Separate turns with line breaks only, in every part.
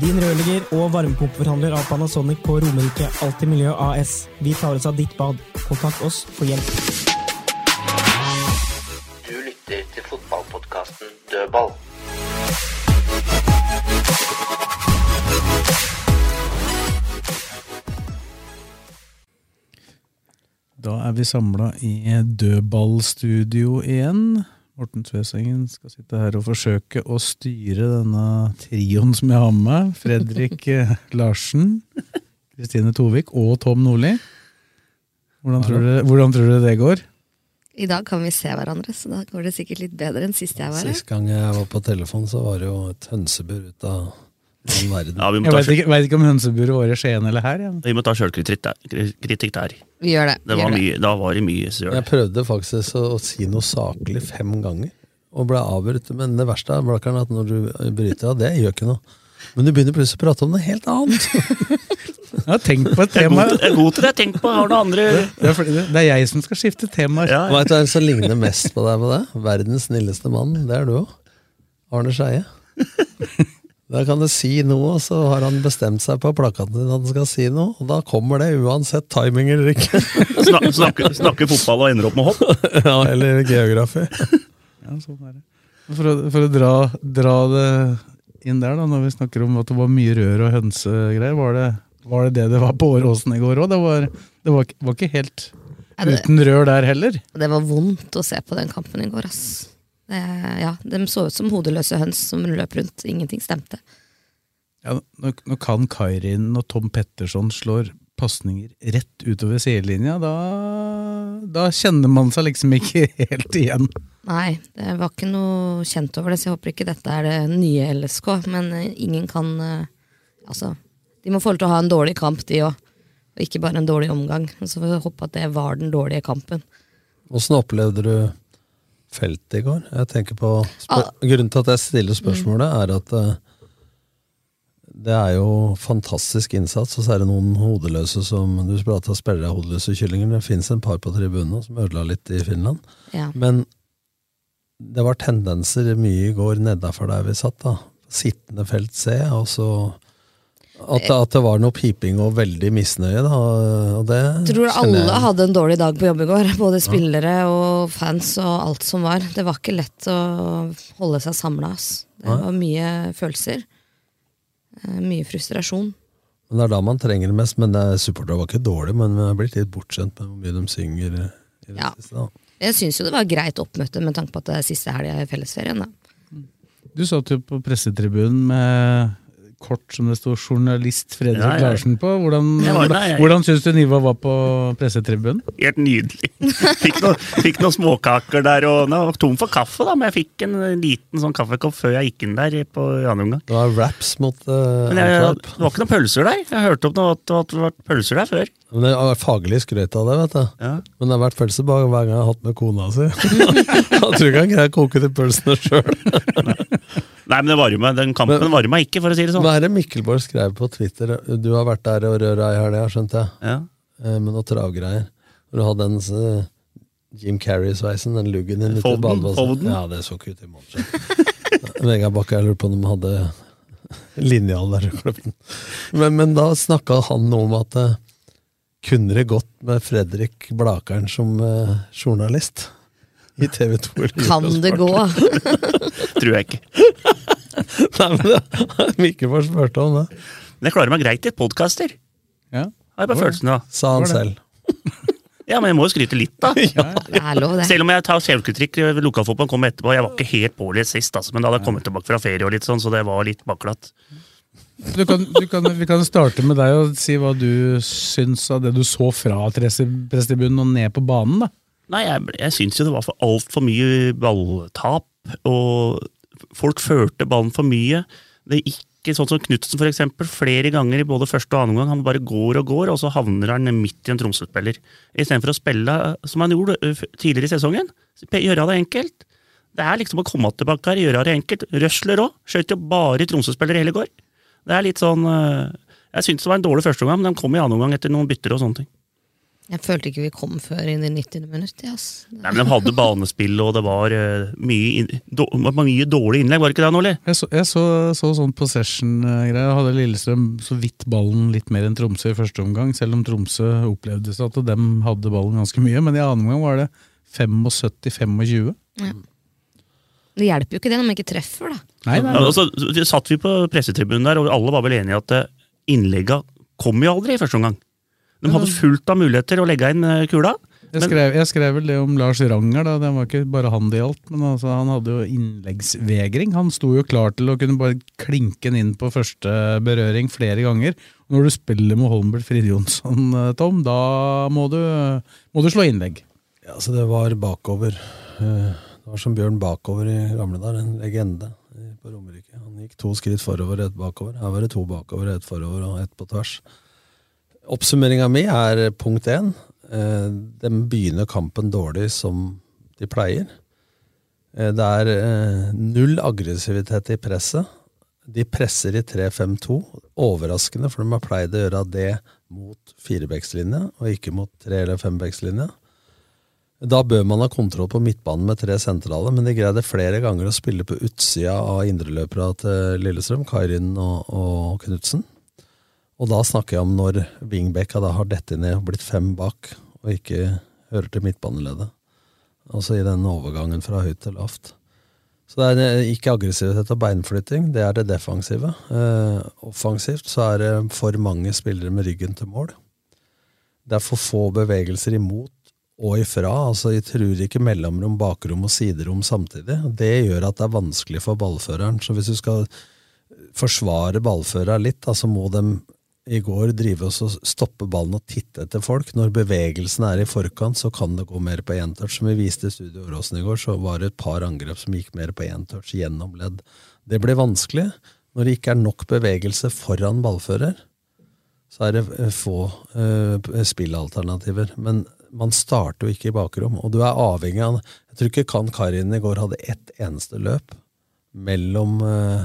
Din rørlegger og varmepumpeforhandler av Panasonic på Romerike Alltid Miljø AS. Vi tar oss av ditt bad. Kontakt oss for hjelp.
Du lytter til fotballpodkasten Dødball.
Da er vi samla i dødballstudio igjen. Morten Tvesengen skal sitte her og forsøke å styre denne trioen som jeg har med. Fredrik eh, Larsen, Kristine Tovik og Tom Nordli. Hvordan tror dere, hvordan tror dere det går?
I dag kan vi se hverandre, så da går det sikkert litt bedre enn sist jeg
Sist gang jeg var på telefon, så var det jo et hønsebur ut av den verden.
Ja, vi må ta,
Jeg veit ikke, vet ikke om hønseburet var i Skien eller her. Ja.
selv- vi må ta sjølkritikk der. kritikk der.
Vi gjør det.
Det var mye, da var det mye søl.
Jeg prøvde faktisk å, å si noe saklig fem ganger, og ble avbrutt. Men det verste er Blakkaren, at når du bryter av, det gjør ikke noe. Men du begynner plutselig å prate om noe helt annet.
Jeg har tenkt på et
Jeg er
tema.
god til- jeg er god til det. Tenk på har du noe andre
Det er, fordi det- det er jeg som skal skifte temaer.
ja, ja.
Veit du hvem som ligner mest på deg på det? Verdens snilleste mann. Det er du òg. Arne Skeie. Da kan du si noe, og så har han bestemt seg på plakaten din at han skal si noe. Og da kommer det, uansett timing eller ikke.
Snak, snakke, snakke fotball og ender opp med hopp.
Ja, eller geografi.
Ja, sånn er det. For å, for å dra, dra det inn der, da, når vi snakker om at det var mye rør og hønsegreier, var det var det det det var på Åråsen i går òg? Det, var, det var, ikke- var ikke helt uten rør der heller.
Det var vondt å se på den kampen i går, ass. Det, ja, de så ut som hodeløse høns som løp rundt. Ingenting stemte.
Ja, nå, nå kan Kairin og Tom Petterson slår pasninger rett utover sidelinja. Da, da kjenner man seg liksom ikke helt igjen.
Nei, det var ikke noe kjent over det, så jeg håper ikke dette er det nye LSK. Men eh, ingen kan eh, Altså, de må få lov til å ha en dårlig kamp, de òg. Og ikke bare en dårlig omgang. Så får vi håpe at det var den dårlige kampen.
Åssen opplevde du feltet i går? Jeg tenker på spør- Grunnen til at jeg stiller spørsmålet, er at eh, det er jo fantastisk innsats, og så er det noen hodeløse som Du prata spillere av hodeløse kyllinger, det fins en par på tribunene som ødela litt i Finland.
Ja.
Men det var tendenser mye i går nedafor der vi satt, da. Sittende felt C, og så at,
Eh.
at det var noe piping og veldig misnøye, da. Og det
tror
kjenner
alle
jeg-
hadde en dårlig dag på jobb i går. Både spillere og fans og alt som var. Det var ikke lett å holde seg samla. Det var mye følelser. Eh, Mye frustrasjon.
Men Det er da man trenger det mest. Men det er- supportere var ikke dårlig, men vi har blitt litt bortskjemt med hvor mye de synger. eh, i det
Ja.
siste, da.
Jeg syns jo det var greit oppmøte med tanke på at det er siste helga i fellesferien. Da.
Du satt jo på pressetribunen med kort som det står 'journalist Fredrik
Ja, ja.
Larsen' på. Hvordan,
Jeg var der, jeg.
hvordan syns du nivået var på pressetribunen?
Helt nydelig. Fikk, noe, fikk noen småkaker der, og jeg var tom for kaffe, da, men jeg fikk en liten sånn kaffekopp før jeg gikk inn der på i andre omgang.
Det var raps mot uh,
Men jeg, det var ikke noen pølser der. Jeg hørte opp noe, at det hadde vært pølser der før.
Men det har vært faglig skrøt av det, vet du.
Ja.
Men det har vært pølsebak hver gang jeg har hatt med kona si. Jeg tror ikke han greier å koke de pølsene sjøl.
Nei, men det varma, den kampen varma ikke, for å si det sånn.
Hva er det Mikkelborg skrev på Twitter? Du har vært der og røra i helga, skjønte jeg.
Ja.
Eh, Med noen travgreier. Når du hadde den eh, Jim Carrey-sveisen, den luggen din ute i
Folden,
badebassenget.
Folden.
Ja, det så ikke ut i morgen. Vegard Bakke, jeg lurer på om de hadde linjal der. og kløpt den. Men, men da snakka han noe om at eh, kunne det gått med Fredrik Blakeren som eh, journalist i TV 2?
Kan det gå?
Tror jeg ikke.
Nei, men det, Mikkelfors spurte om det.
Men jeg klarer meg greit i podkaster.
Ja.
Har jeg bare følelsen av.
Sa han selv.
Ja, men jeg må jo skryte litt, da.
Det er lov, det.
Selv om jeg tar selvkritikk ved lokalfotballen kommer etterpå. Jeg var ikke helt pålest sist, altså, men da hadde jeg kommet tilbake fra ferie og litt sånn, så det var litt baklatt.
Du kan, du kan, vi kan starte med deg og si hva du syns av det du så fra pressetribunen og ned på banen. da.
Nei, jeg, ble- jeg syns jo det var for altfor mye balltap, og folk førte ballen for mye. Det er ikke sånn som Knutsen, for eksempel. Flere ganger i både første og annen omgang. Han bare går og går, og så havner han midt i en Tromsø-spiller. Istedenfor å spille eh, som han gjorde eh, f- tidligere i sesongen. Sp- Gjøre det enkelt. Det er liksom å komme tilbake her, gjøre det enkelt. Røsler òg. Skjøt jo bare Tromsø-spillere i hele går. Det er litt sånn eh, Jeg syns det var en dårlig første omgang, men den kom i annen omgang etter noen bytter og sånne ting.
Jeg følte ikke vi kom før inn i 90. minutt. Ja, ass.
Nei, men De hadde banespill, og det var eh, mye, inn, då, mye dårlige innlegg, var det ikke det, Nordli?
Jeg så, jeg så, så sånn possession-greier. Hadde Lillestrøm så vidt ballen litt mer enn Tromsø i første omgang, selv om Tromsø opplevde seg at dem hadde ballen ganske mye. Men i annen omgang var det 75-25.
Det hjelper jo ikke det når man ikke treffer, da.
Nei, nei,
Ja, altså, vi satt vi på pressetribunen der, og alle var vel enige i at eh, innlegga kom jo aldri i første omgang. De hadde fullt av muligheter å legge inn eh, kula.
Jeg skrev, jeg skrev vel det om Lars Ranger, da. det var ikke bare han det gjaldt. Men altså, han hadde jo innleggsvegring. Han sto jo klar til å kunne bare klinke den inn på første berøring flere ganger. Og når du spiller med Holmbert Frid Jonsson, eh, Tom, da må du, må du slå innlegg.
Ja, så det var bakover. Eh, Det var som Bjørn Bakover i gamle der, en legende i- på Romerike. Han gikk to skritt forover og ett bakover. Her var det to bakover, ett forover og ett på tvers. Oppsummeringa mi er punkt én. Eh, De begynner kampen dårlig som de pleier. Eh, Det er eh, null aggressivitet i presset. De presser i 3-5-2. Overraskende, for de har pleid å gjøre det mot firebekslinja, og ikke mot tre- eller fembekslinja. Da bør man ha kontroll på midtbanen med tre sentrale, men de greide flere ganger å spille på utsida av indreløperne til Lillestrøm, Kairin og, og Knutsen. Og da snakker jeg om når wingbacka da har dettet ned og blitt fem bak, og ikke hører til midtbaneleddet. Altså i den overgangen fra høyt til lavt. Så det er eh, ikke aggressivitet og beinflytting, det er det defensive. Eh, offensivt så er det for mange spillere med ryggen til mål. Det er for få bevegelser imot og ifra. altså Jeg tror ikke mellomrom, bakrom og siderom samtidig. Det gjør at det er vanskelig for ballføreren. Så hvis du skal forsvare ballføreren litt, da, så må de i går drive oss og stoppe ballen og titte etter folk. Når bevegelsen er i forkant, så kan det gå mer på én touch. Som vi viste i Studio Åråsen i går, så var det et par angrep som gikk mer på én touch gjennom ledd. Det blir vanskelig når det ikke er nok bevegelse foran ballfører så er det eh, få eh, spillalternativer. Men man starter jo ikke i bakrom, og du er avhengig av Jeg tror ikke Kan Karin i går hadde ett eneste løp mellom eh,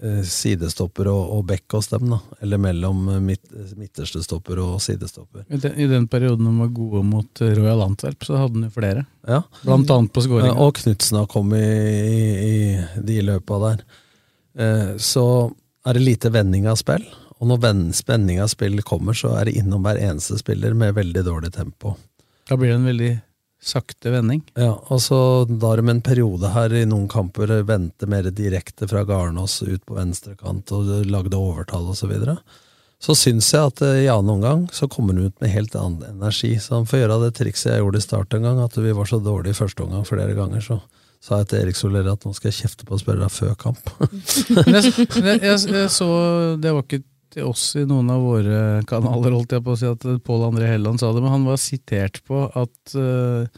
eh, sidestopper og, og bekk hos dem, da. Eller mellom eh, midt, midterste stopper og sidestopper.
I den, I den perioden de var gode mot eh, Royal Antwerp, så hadde han jo flere.
Ja.
Blant annet på skåringa.
Ja, Og Knutsen har kommet i, i, i de løpa der. Eh, Så er det lite vending av spill. Og når ven- spenning av spill kommer, så er det innom hver eneste spiller med veldig dårlig tempo.
Da blir det en veldig sakte vending.
Ja, og så da har de en periode her i noen kamper eh, vente mer direkte fra Garnås ut på venstre kant og lagde overtall osv. Så, videre. så syns jeg at eh, i annen omgang så kommer han ut med helt annen energi. Så han får gjøre det trikset jeg gjorde i start en gang, at vi var så dårlige i første omgang flere ganger. så sa jeg til Erik Soler at nå skal jeg kjefte på spillerne før kamp.
Men jeg, men jeg, jeg, jeg så, det var ikke til oss i noen av våre kanaler, holdt jeg på å si, at Pål André Helland sa det, men han var sitert på at eh,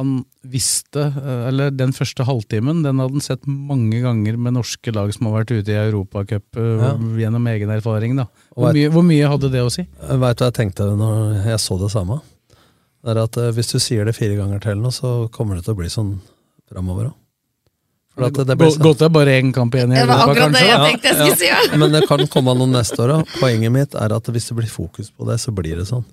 han visste, eh, eller den første halvtimen, den hadde han sett mange ganger med norske lag som har vært ute i Europacup eh,
Ja.
gjennom egen erfaring. da.
Og
Hvor
vet-
mye, hvor mye hadde det å si?
Veit du hva jeg tenkte når jeg så det samme? Det er at eh, Hvis du sier det fire ganger til nå, så kommer det til å bli sånn framover òg.
Gå-
sånn-
Godt det er bare én kamp igjen i
Det var
Europa,
akkurat det
kanskje?
jeg
da?
tenkte jeg skulle si! Ja.
Men det kan komme noen neste år òg. Poenget mitt er at hvis det blir fokus på det, så blir det sånn.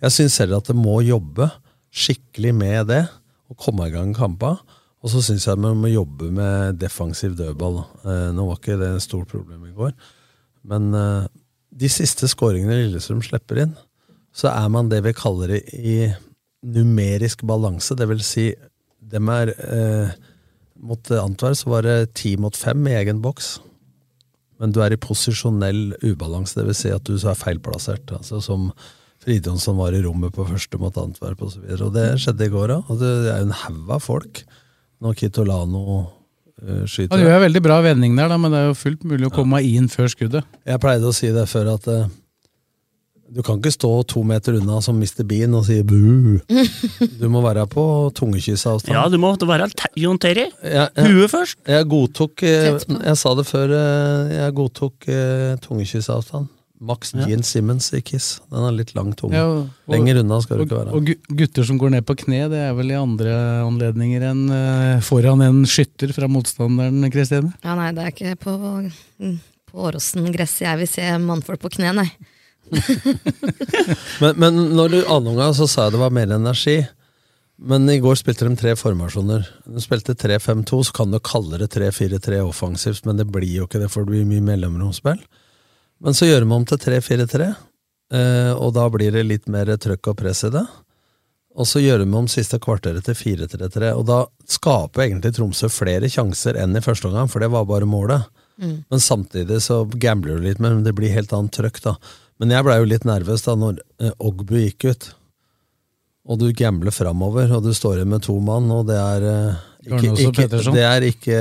Jeg syns heller at det må jobbe skikkelig med det, og komme i gang kampa. Og så syns jeg at man må jobbe med defensiv dødball. da. Eh, Nå var ikke det et stort problem i går, men eh, de siste skåringene Lillestrøm slipper inn, så er man det vi kaller i, i numerisk balanse. Det vil si, dem er eh, mot Antwerp så var det ti mot fem i egen boks. Men du er i posisjonell ubalanse, det vil Si at du så er feilplassert. Altså som Fridjonsson var i rommet på første mot Antwerp osv. Og, og det skjedde i går òg. Og det er jo en haug av folk når Kitolano eh, skyter.
Han gjør en veldig bra vending der, da, men det er jo fullt mulig å komme inn før skuddet.
Jeg pleide å si det før at eh, du kan ikke stå to meter unna som Mr. Bean og si bu. Du må være på tungekyssavstand.
Ja, du må være te- Jon Terry.
Jeg- jeg-
Huet først.
Jeg godtok eh,
Tett på.
Jeg sa det før, eh, jeg godtok eh, tungekyssavstand. Max
Ja.
Gene Simmons i Kiss. Den er litt lang tunge.
Ja, og-
Lenger unna skal du ikke være.
Og gu- gutter som går ned på kne, det er vel i andre anledninger enn eh, foran en skytter fra motstanderen, Kristine?
Ja, nei, det er ikke på, mm, på Åråsen-gresset jeg vil se mannfolk på kne, nei.
Men, men når du anunga, så sa jeg det var mer energi. Men i går spilte de tre formasjoner. De spilte 3-5-2, så kan du kalle det 3-4-3 offensivt, men det blir jo ikke det, for det blir mye mellomromsspill. Men så gjør vi om til 3-4-3, eh, og da blir det litt mer trøkk og press i det. Og så gjør vi om siste kvarteret til 4-3-3, og da skaper egentlig Tromsø flere sjanser enn i første omgang, for det var bare målet.
Mm.
Men samtidig så gambler du litt, men det blir helt annet trøkk, da. Men jeg blei jo litt nervøs da når eh, Ogbu gikk ut, og du gambler framover, og du står igjen med to mann, og det er eh, ikke,
Garnås og
ikke,
Pettersson.
Det er ikke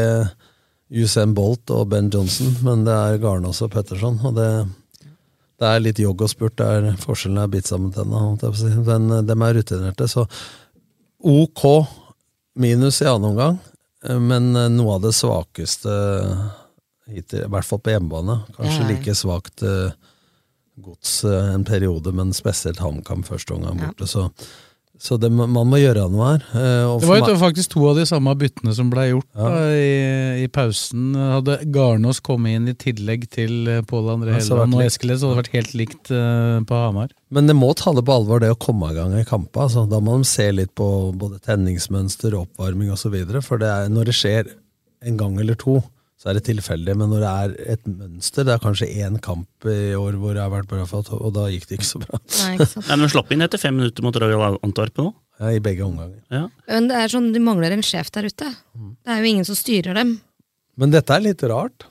Usain Bolt og Ben Johnson, men det er Garnås og Petterson, og det det er litt jogg og spurt, der forskjellen er bitt sammen tenna. holdt jeg på å si. Den, dem er rutinerte, så ok minus i annen omgang, eh, men eh, noe av det svakeste hittil, i hvert fall på hjemmebane. Kanskje
Ja, ja.
like svakt eh, gods eh, en periode, men spesielt HamKam første omgang borte. Så, så det, må- man må gjøre noe her. eh, og
Det
for
var jo
meg-
faktisk to av de samme byttene som ble gjort
Ja.
da, i, i pausen. Hadde Garnås kommet inn i tillegg til eh, Pål André
Ja, så hadde det vært
Helland og
likt.
Eskil, så hadde det vært helt likt eh, på Hamar.
Men det må ta det på alvor, det å komme i gang i kamper. Altså. Da må de se litt på både tenningsmønster, oppvarming osv. For det er, når det skjer en gang eller to, så er det tilfeldig. Men når det er et mønster Det er kanskje én kamp i år hvor det har vært bra, for at- og da gikk det ikke så bra.
Nei, men slapp inn etter fem minutter mot Royal Antwerp nå.
Ja, I begge omganger.
Men det er sånn, de mangler en sjef der ute. Det er jo ingen som styrer dem.
Men dette er litt rart.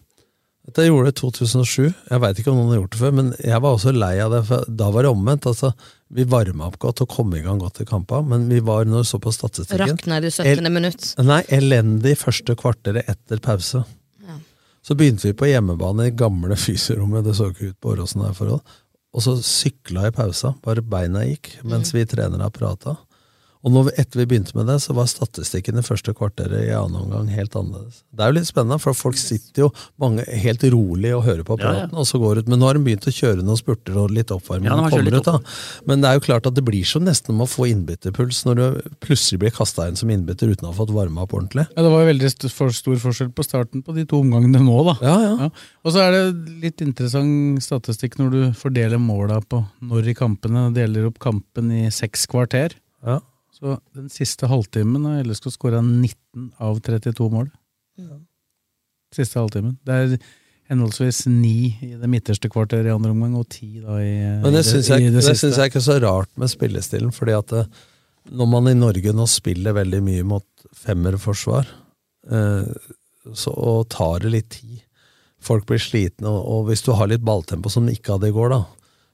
Dette gjorde det i 2007. Jeg veit ikke om noen har gjort det før, men jeg var også lei av det. For da var det omvendt. Altså, vi varma opp godt og kom i gang godt i kamper, men vi var, når vi så på statistikken
Rakna i det 17. minutt.
Nei, elendig første kvarteret etter pause.
Ja.
Så begynte vi på hjemmebane i gamle fysiorommet, det så ikke ut på Åråsen her forhold. Og så sykla i pausa, bare beina gikk, mens
Mm.
vi trenere prata. Og når vi, etter vi begynte med det, så var statistikken i første kvarteret i annen omgang helt annerledes. Det er jo litt spennende, for folk sitter jo mange helt rolig og hører på
Ja, ja.
praten, og så går ut. Men nå har de begynt å kjøre noen spurter og litt oppvarming.
Ja, de har kjørt
kommer
litt
ut, da. Men det er jo klart at det blir så nesten om å få innbytterpuls når du plutselig blir kasta inn som innbytter uten å ha fått varma opp ordentlig.
Ja, Det var jo veldig st for stor forskjell på starten på Eh, de to omgangene nå, da. Ja. Og så er det litt interessant statistikk når du fordeler måla på når i kampene. Deler opp kampen i seks kvarter. Så den siste halvtimen har LSK skåra 19 av 32 mål. Siste halvtimen. Det er henholdsvis ni i det midterste kvarteret i andre omgang, og ti da i,
Men
i
det syns jeg,
i
det
siste.
synes jeg ikke er så rart med spillestilen, fordi at eh, når man i Norge nå spiller veldig mye mot femmerforsvar, eh, så og tar det litt tid. Folk blir slitne, og, og hvis du har litt balltempo som de ikke hadde i går, da,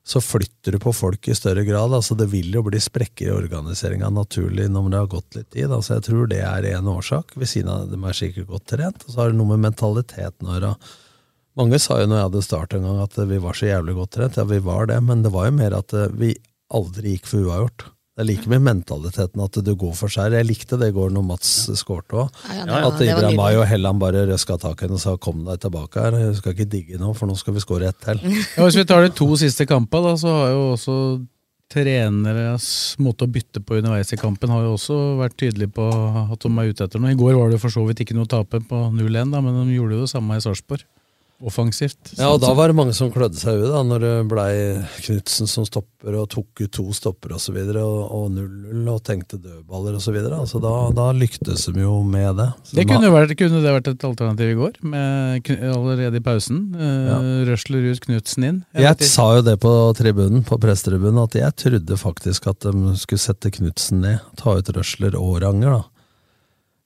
så flytter du på folk i større grad. altså Det vil jo bli sprekker i organiseringa naturlig når det har gått litt tid. altså Jeg tror det er én årsak. Ved siden av dem er sikkert godt trent, og så har det noe med mentaliteten å gjøre. Mange sa jo når jeg hadde start en gang at eh, vi var så jævlig godt trent. Ja, vi var det, men det var jo mer at eh, vi aldri gikk for uavgjort. Det er like mye mentaliteten at du går for seier. Jeg likte det i går når Mats skårte òg.
Ja, ja, det var-
At
det var
Ibrahim
nydelig.
May og Helland bare røska tak i henne og sa 'kom deg tilbake her', du skal ikke digge nå, for nå skal vi skåre ett til.
Ja, hvis vi tar de to siste kampene, da, så har jo også treneres måte å bytte på underveis i kampen har jo også vært tydelig på at de er ute etter noe. I går var det for så vidt ikke noe å tape på 0-1, da, men de gjorde jo det samme i Sarpsborg. Offensivt.
Ja, og da var det mange som klødde seg i huet, da, når det blei Knutsen som stopper, og tok ut to stopper og så videre, og og 0-0, og tenkte dødballer og så videre. Altså, da, da lyktes de jo med det. Så
det
de
kunne, jo vært, kunne det vært et alternativ i går, med, kn- allerede i pausen. Eh, Røsler ut Knutsen inn.
Jeg, sa jo det på tribunen, på pressetribunen, at jeg trodde faktisk at de skulle sette Knutsen ned. Ta ut Røsler og Ranger, da.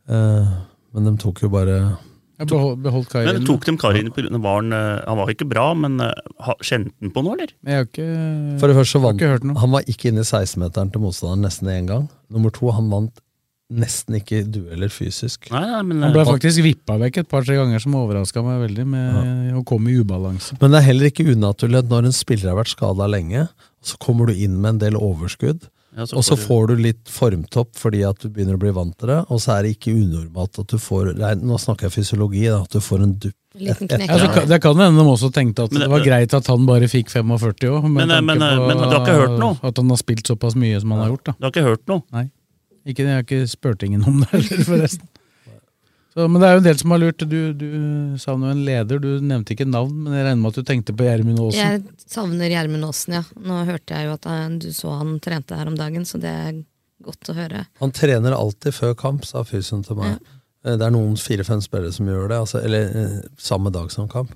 Eh, Men de tok jo bare
Jeg behold- beholdt Kari
Men
inne.
tok de Karin på grunn av var han, eh, han var ikke bra, men eh, ha- kjente han på noe, eller?
Men jeg har ikke
For det første så
har
vant
ikke hørt noe.
han var ikke inne i 16-meteren til motstanderen nesten én gang. Nummer to, han vant nesten ikke dueller fysisk.
Nei, nei, men,
Han ble
eh,
faktisk vippa vekk et par-tre ganger, som overraska meg veldig, med å komme i ubalanse.
Men det er heller ikke unaturlig at når en spiller har vært skada lenge, så kommer du inn med en del overskudd,
Ja, så
og så
får du-
får du litt formtopp fordi at du begynner å bli vant til det, og så er det ikke unormalt at du får nei, Nå snakker jeg fysiologi, da, at du får en dupp.
Liten
et- et-
knekk.
Ja, så, kan- det kan hende de også tenkte at
Men
det
det-
var greit at han bare fikk 45 òg.
Men, eh, men, eh, men du har ikke hørt noe?
At han har spilt såpass mye som han har gjort. da.
du har ikke hørt noe?
Ikke, jeg har ikke spurt ingen om det heller, forresten. Så, men det er jo en del som har lurt. Du, du savner jo en leder, du nevnte ikke navn, men jeg regner med at du tenkte på Gjermund Aasen.
Jeg savner Gjermund Aasen, ja. Nå hørte jeg jo at eh, du så han trente her om dagen, så det er godt å høre.
Han trener alltid før kamp, sa fysioen til meg. Eh, Det er noen fire-fem spillere som gjør det, altså, eller eh, samme dag som kamp.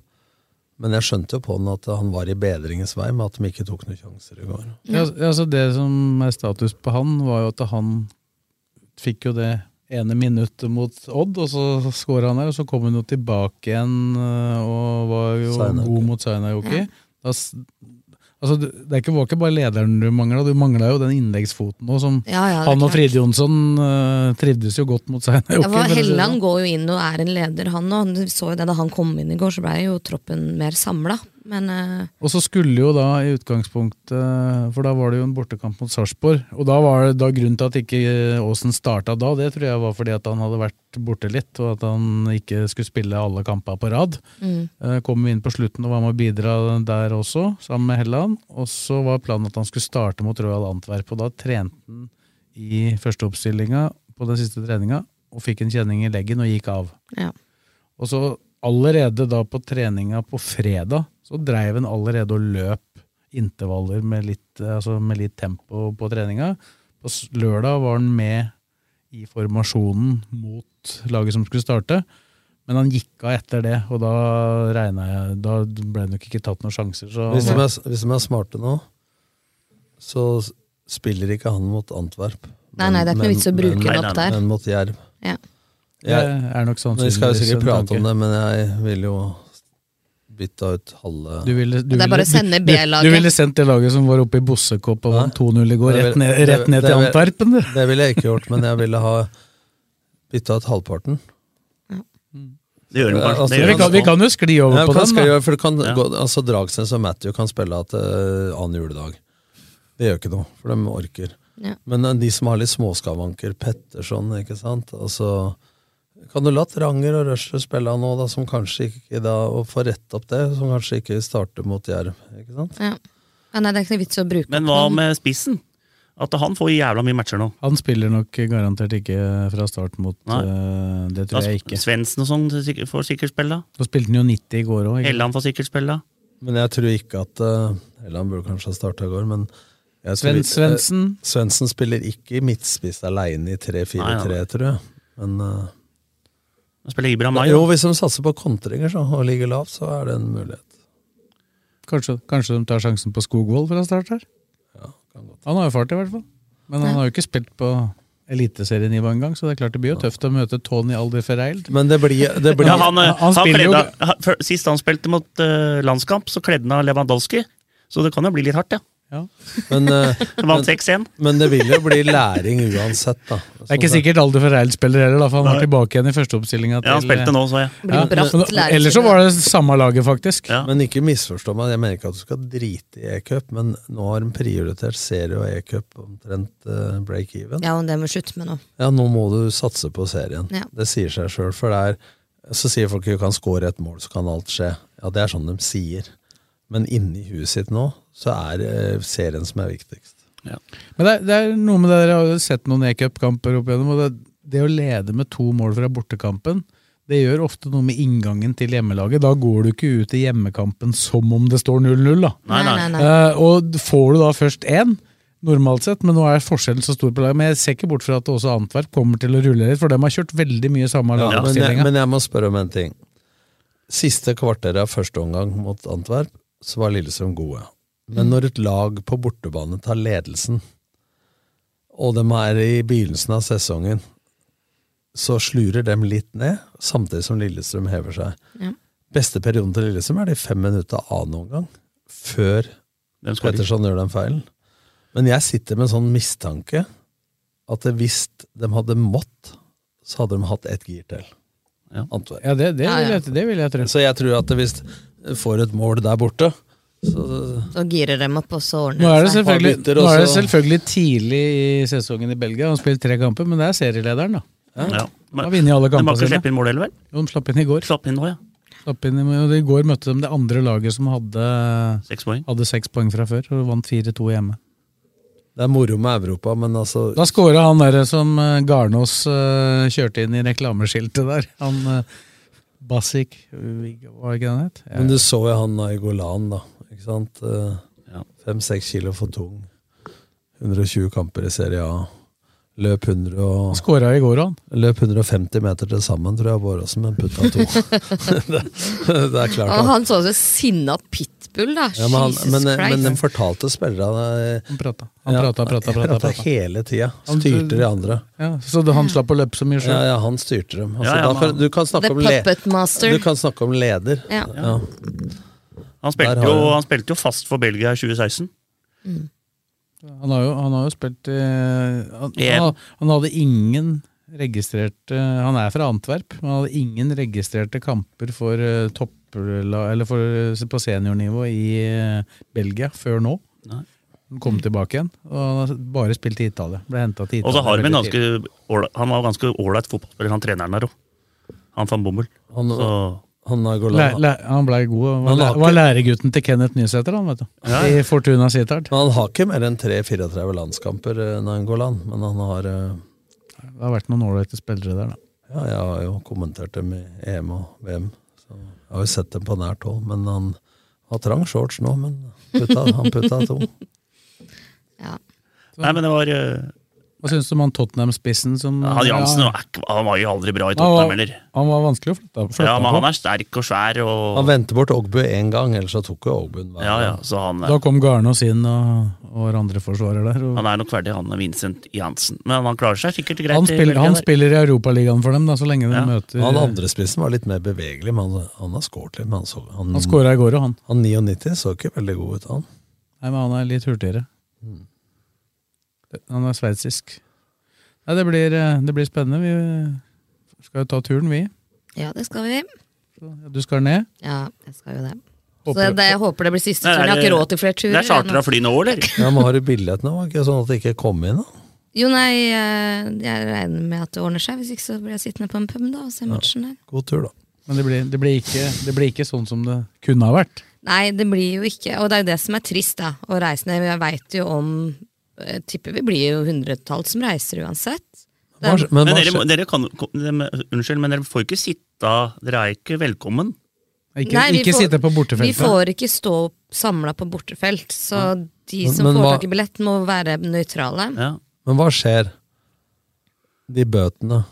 Men jeg skjønte jo på den at han var i bedringens vei, med at de ikke tok noen sjanser i går.
Ja, altså det som er status på han, var jo at han fikk jo det ene minuttet mot Odd, og så skåra han der, og så kom han jo tilbake igjen øh, og var jo
Sainajoki.
god mot Sainajoki. Da s- Altså, du- det er ikke, var ikke bare lederen du mangla, du mangla jo den innleggsfoten òg, som
Ja, ja, det er
han og
klart.
Fride Jonsson øh, trivdes jo godt mot Sainajoki.
Ja,
for å
for
si det sånn.
Helland går jo inn og er en leder, han òg. Du så jo det da han kom inn i går, så blei jo troppen mer samla. Men eh,
Og så skulle jo da i utgangspunktet For da var det jo en bortekamp mot Sarpsborg. Og da var det da grunnen til at ikke eh, Aasen starta da, det tror jeg var fordi at han hadde vært borte litt, og at han ikke skulle spille alle kampene på rad.
Mm.
Eh, Kom inn på slutten og var med å bidra der også, sammen med Helland. Og så var planen at han skulle starte mot Royal Antwerp, og da trente han i førsteoppstillinga på den siste treninga, og fikk en kjenning i leggen og gikk av.
ja.
Og så allerede da på treninga på fredag, så dreiv han allerede og løp intervaller med litt, eh, altså med litt tempo på treninga. På s- lørdag var han med i formasjonen mot laget som skulle starte, men han gikk av etter det, og da regna jeg Da ble det nok ikke tatt noen sjanser. Så
Hvis de
han var,
er, hvis de er smarte nå, så s- spiller ikke han mot Antwerp.
Nei, nei, det er ikke noe vits å bruke
Nei,
den
nei,
opp
nei,
der.
Men mot Jerv.
Ja.
det
Jeg,
er nok
vi
sannsynligvis
skal jo sikkert
en
prate om
tanke.
det, men jeg ville jo bytta ut halve
Du ville, du
Det er bare å
ville-
sende
du-
B-laget.
Du, ville sendt det laget som var oppe i Bossekopp og vant 2-0 i går,
Det er
rett
vel-
ned, rett ned
det er
til
vel-
Antwerpen. du.
Det ville jeg ikke gjort, men jeg ville ha bytta ut halvparten.
Det gjør de
Ja,
kanskje.
altså,
det
Ja,
gjør
vi,
de
kan, vi
kanskje.
kan jo skli over
Ja,
på
kan
den.
skal
Da.
gjøre, for det kan
Ja.
gå, altså Dragsnes og Matthew kan spille til eh, annen juledag. Det gjør ikke noe, for de orker.
Ja.
Men eh, de som har litt småskavanker, Petterson, ikke sant altså, Kan du la Ranger og Rusher spille nå, da, som kanskje ikke da, og få rett opp det, som kanskje ikke starter mot Jerv? ikke sant?
ja. Ja, Nei, det er ikke noe vits å bruke
Men
opp
hva
den.
med spissen? At han får jævla mye matcher nå.
Han spiller nok garantert ikke fra start mot
Nei.
eh, Det tror jeg ikke.
Svendsen og sånn sikk- får sikkert spille.
Så spilte han jo 90 i går òg.
Helland får sikkert spille.
Men jeg tror ikke at eh, Eller han burde kanskje ha starta i går, men jeg tror
Sven,
ikke-
Svendsen.
eh, Svendsen spiller ikke i midtspiss aleine i 3-4-3,
Nei,
tror jeg. Men eh,
Han spiller Ibra Mai.
Jo, hvis de satser på kontringer så, og ligger lavt, så er det en mulighet.
Kanskje, kanskje de tar sjansen på Skogvold fra start her? Han har jo fart, i hvert fall. Men han har jo ikke spilt på eliteserienivå engang, så det er klart det blir jo tøft å møte Tony Alder Ferreild.
Men det blir, det blir
Ja, han, eh, han
Han spiller jo-
kledde, han- før- Sist han spilte mot eh, landskamp, så kledde han av Lewandowski. Så det kan jo bli litt hardt, ja.
Ja.
men, eh,
Han vant 6-1.
men det vil jo bli læring uansett, da.
Det er ikke sikkert Alder Ferreild spiller heller, da, for han var tilbake igjen i førsteoppstillinga.
Ja, han spilte nå, så jeg.
Blir jo bratt lærer-
Eller så var det samme laget, faktisk.
Ja.
Men ikke misforstå meg, jeg mener ikke at du skal drite i e-cup, men nå har de prioritert serie og e-cup omtrent eh, break-even. Ja.
Ja, og det må vi slutte med nå.
nå må du satse på serien.
Ja.
Det sier seg sjøl, for det er Så sier folk at du kan score et mål, så kan alt skje. Ja, det er sånn de sier. Men inni huet sitt nå, så er det serien som er viktigst.
Men det er, det er noe med det, dere har jo sett noen e-cupkamper opp igjennom, og det, det å lede med to mål fra bortekampen, det gjør ofte noe med inngangen til hjemmelaget. Da går du ikke ut i hjemmekampen som om det står 0-0, da.
Nei, nei.
Eh, og får du da først én, normalt sett, men nå er forskjellen så stor på laget. Men jeg ser ikke bort fra at også Antwerp kommer til å rulle litt, for de har kjørt veldig mye
Ja,
samme
men, jeg,
lagoppstillinga.
men jeg må spørre om en ting. Siste kvarteret av første omgang mot Antwerp, så var Lillestrøm gode. Men når et lag på bortebane tar ledelsen, og de er i begynnelsen av sesongen, så slurer dem litt ned, samtidig som Lillestrøm hever seg.
Ja.
Beste perioden til Lillestrøm er de fem minutta av noen gang, før
skårer.
Petterson gjør den feilen. Men jeg sitter med en sånn mistanke at hvis de hadde mått, så hadde de hatt ett gir til.
Ja,
ja det, det, vil jeg, det vil jeg tro.
Så jeg tror at hvis de får et mål der borte så,
Så girer dem opp, og så ordner
Nå er, det
seg.
selvfølgelig,
bytter,
nå
og
er det
så-
selvfølgelig tidlig i sesongen i Belgia. Han spiller tre kamper, men det er serielederen, da.
Ja.
Han har vunnet alle
De har
kampene
ikke
sine.
sluppet inn mål heller, vel?
Jo, De slapp inn i går.
Slapp inn nå, ja.
Slapp inn, i- og I går møtte de det andre laget som hadde
Seks poeng.
hadde seks poeng fra før, og vant 4-2 hjemme.
Det er moro med Europa, men altså
Da skåra han derre som eh, Garnås eh, kjørte inn i reklameskiltet der. Han eh, Basic, eh, var det ikke det han het?
Men du så jo han Aigolan, da. Ikke sant?
Ja.
Fem-seks kilo for tung. 120 kamper i Serie A. Løp 100 og
Han skåra i går, han.
Løp 150 meter til sammen, tror jeg, Båråsen, men putta to. det, det er klart.
Og
at-
han så ut som en sinna pitbull, da.
Ja, men, han,
Jesus
men, eh, men
Christ.
de fortalte eh, spillerne
Han prata, han prata, prata, prata,
prata
prata.
hele tida.
Han-
Styrte de andre.
Ja, så han slapp å løpe så
Ja,
mye sjøl.
ja, han styrte dem. Altså,
Ja, ja,
da får-
men-
du, kan
The
snakke om le,
puppet master.
du kan snakke om leder.
Ja.
Ja.
Han
Der
spilte,
har
jo,
jeg det.
han spilte jo fast for Belgia i 2016.
Han, har jo- han har jo spilt eh, han,
Ja.
han, han hadde ingen registrerte Han er fra Antwerp, men han hadde ingen registrerte kamper for eh, toppla, eller for, eh, på seniornivå i eh, Belgia før nå.
Nei.
Han kom tilbake igjen, og han har bare spilt i Italia. Ble hentet til
Og
Italia.
så har de en
veldig
ganske ålreit- Han var en ganske ålreit fotballspiller, han treneren der òg. Han van Bommel.
Han,
Så
han
tidlig. Læ,
Aigolan
læ, han blei god. og
Han
Var,
har
læ- var læregutten til Kenneth Nysæter, han, vet du.
Ja.
I Fortuna Sittard.
Men han har ikke mer enn 3-34 landskamper, eh, Nangolan. Men han har eh,
Det har vært noen ålreite spillere der, da.
Ja, jeg har jo kommentert dem i EM og VM. Så jeg har jo sett dem på nært hold. Men han har trang shorts nå, men putta, han putta to.
Ja.
Nei, men det var eh,
Hva syns du om han Tottenham-spissen som
Han Jansen
Ja,
var ikke- han var jo aldri bra i
han,
Tottenham
var,
heller.
han var vanskelig å flytte, flytte
Ja, men
på.
han er sterk og svær
Han
og
vendte bort Ogbu én gang, ellers så tok jo Ogbu den hver
Ja, ja,
gang.
så han,
Da kom Garnås inn og, og var andre forsvarer der. Og
han er nok verdig, han Vincent Jansen. Men han klarer seg sikkert greit.
han,
i
spiller,
Belgia
han
der.
spiller i Europaligaen for dem, da, så lenge de
Ja.
møter
Han andre spissen var litt mer bevegelig, men han, han har skåret litt. Men han, så, han,
Han skåra i går, og han.
han 99 så ikke veldig god ut, han.
Nei, men han er litt hurtigere.
Mm.
Han er sveitsisk. Nei, det blir, eh, det blir spennende. Vi skal jo ta turen, vi.
ja, det skal vi.
Du skal ned.
Ja, jeg skal jo det. Så
Håper,
det, jeg håper det blir siste
Nei,
turen. Jeg har
det-
ikke råd til flere turer.
Det er charter av
jeg nå.
fly nå, eller?
Ja, men har du billett nå? Var det ikke sånn at det ikke kom inn, da?
Jo, nei, eh, jeg regner med at det ordner seg. Hvis ikke så blir jeg sittende på en pub da og se matchen der.
God tur, da.
Men det blir, det, blir ikke, det blir ikke sånn som det kunne ha vært.
Nei, det blir jo ikke Og det er jo det som er trist, da. Å reise ned. Jeg veit jo om Jeg tipper vi blir jo hundretall som reiser uansett. Det
Hva
er,
skj- Men
Men
hva
dere, må-
skj-
dere kan, dem- unnskyld, men dere får ikke sitte Dere er ikke velkommen.
Ikke,
Nei, vi
ikke
får-
sitte på
vi
bortefeltet.
får ikke stå samla på bortefelt, så de
Men-
som
men
får
hva-
tak i billett, må være nøytrale.
Ja.
men hva skjer? De bøtene.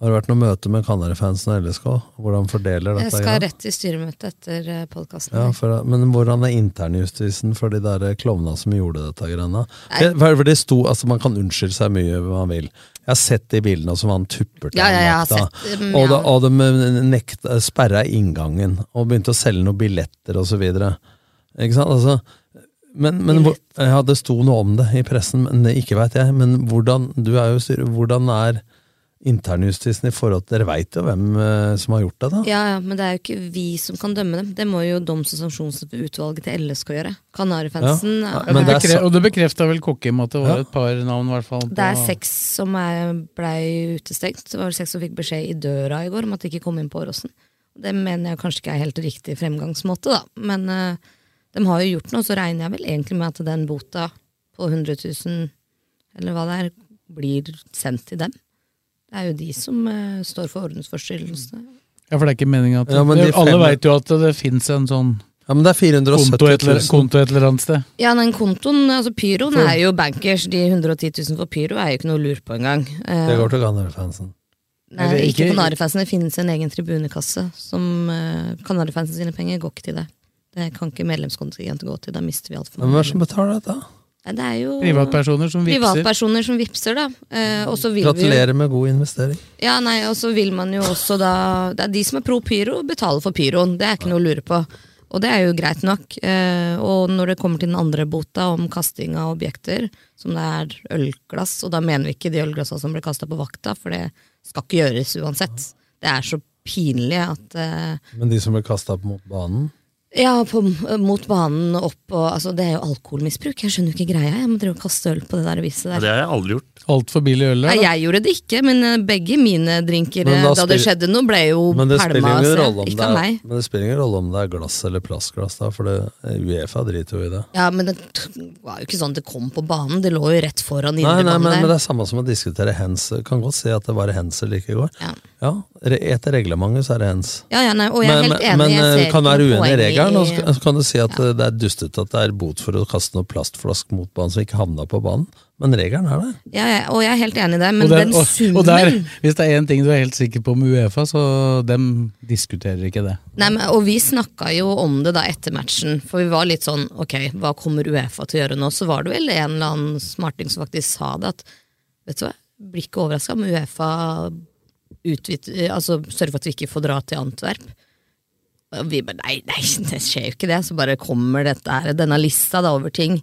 Har det vært noe møte med Kanarifansen og LSK? Hvordan fordeler dette?
Jeg skal
greia?
rett til styremøte etter eh, podkasten.
Ja, for, men hvordan er internjustisen for de der klovna som gjorde dette? greiene?
Nei.
For, for det sto, altså Man kan unnskylde seg mye hva man vil. Jeg har sett de bildene som han tupper til.
Ja, ja, jeg
han
har sett dem,
Og, da,
ja.
og de nekta, sperra inngangen og begynte å selge noen billetter osv. Ikke sant? Altså, men, men hvor, ja, det sto noe om det i pressen, men det ikke veit jeg. Men hvordan, du er jo styre, hvordan er internjustisen i forhold til Dere veit jo hvem eh, som har gjort det, da?
Ja, ja, men det er jo ikke vi som kan dømme dem. Det må jo doms- og sanksjonsutvalget til LSK gjøre. Kanarifansen.
Ja,
er-
Ja,
men det
det
er
bekre-
sa-
og det bekrefta vel Kokkim at det var
Ja.
et par navn, i hvert fall.
det er
på-
seks som er, blei utestengt. Det var vel seks som fikk beskjed i døra i går om at de ikke kom inn på Åråsen. Det mener jeg kanskje ikke er helt riktig fremgangsmåte, da. Men eh, de har jo gjort noe, så regner jeg vel egentlig med at den bota på 100 000, eller hva det er, blir sendt til dem. Det er jo de som eh, står for ordensforstyrrelsene.
Ja, for det er ikke meningen at
Ja, men de
det, Alle
fem-
veit jo at det fins en sånn
Ja, men det er
konto et,
470
eller,
000.
konto et eller annet sted.
Ja, den kontoen, altså pyroen er jo bankers. De 110 000 for pyro er jo ikke noe lur på engang. Eh,
Det går til Gunner-fansen.
Nei,
Eller
ikke
ikke-
på Kanarifansen. Det finnes en egen tribunekasse. Som uh, Kanarifansen sine penger går ikke til det. Det kan ikke medlemskontingent gå til. Da mister vi altfor
Men hvem er det som
mange.
betaler dette?
Det er jo
Privatpersoner som vipser.
Privatpersoner som vipser, da. Eh, og så vil vi jo-
Gratulerer med god investering.
Ja, nei, og så vil man jo også da Det er de som er pro pyro, betaler for pyroen. Det er ikke noe å lure på. Og det er jo greit nok. Eh, og når det kommer til den andre bota om kasting av objekter, som det er ølglass, og da mener vi ikke de ølglassa som blir kasta på vakta, for det skal ikke gjøres uansett. Det er så pinlig at eh,
Men de som ble kasta opp mot banen
ja, på, mot banen opp og altså, Det er jo alkoholmisbruk. Jeg skjønner jo ikke greia. Jeg må drive og kaste øl på det der viset der.
Ja, det har jeg aldri gjort.
Altfor billig øl,
Nei, jeg gjorde det ikke, men eh, begge mine drinker
Men
eh,
da
da, det
spiller-
skjedde noe, ble jo
Men det spiller
pælma.
ingen
så-
rolle om det
Ikke av
er,
meg.
men det spiller ingen rolle om det er glass eller plastglass, da, for det, Uefa driter jo i det.
Ja, men det t- var jo ikke sånn det kom på banen, det lå jo rett foran
Nei, nei, men,
indrebanen
men
der.
det er samme som å diskutere hens. Kan godt si at det var hens eller ikke i går.
Ja.
re- etter reglementet så er det hens.
Ja, ja, nei, og jeg er
men
helt enig,
men
jeg ser
eh, kan
ikke
være
noe
uenig i
poeng
regelen, og
i-
så kan- så kan du si at eh, det er dustete at det er bot for å kaste noe plastflask mot banen som ikke havna på banen, men regelen er der.
Ja, ja, og jeg er helt enig i det, men
og der,
den
og,
summen
og der, hvis det er én ting du er helt sikker på med Uefa, så dem diskuterer ikke det.
Nei, men, og vi snakka jo om det da etter matchen, for vi var litt sånn ok, hva kommer Uefa til å gjøre nå? Så var det vel en eller annen smarting som faktisk sa det, at vet du hva, blir ikke overraska om Uefa utvid, altså, sørger for at vi ikke får dra til Antwerp. Og vi bare nei, nei, det skjer jo ikke det. Så bare kommer dette her, denne lista da over ting.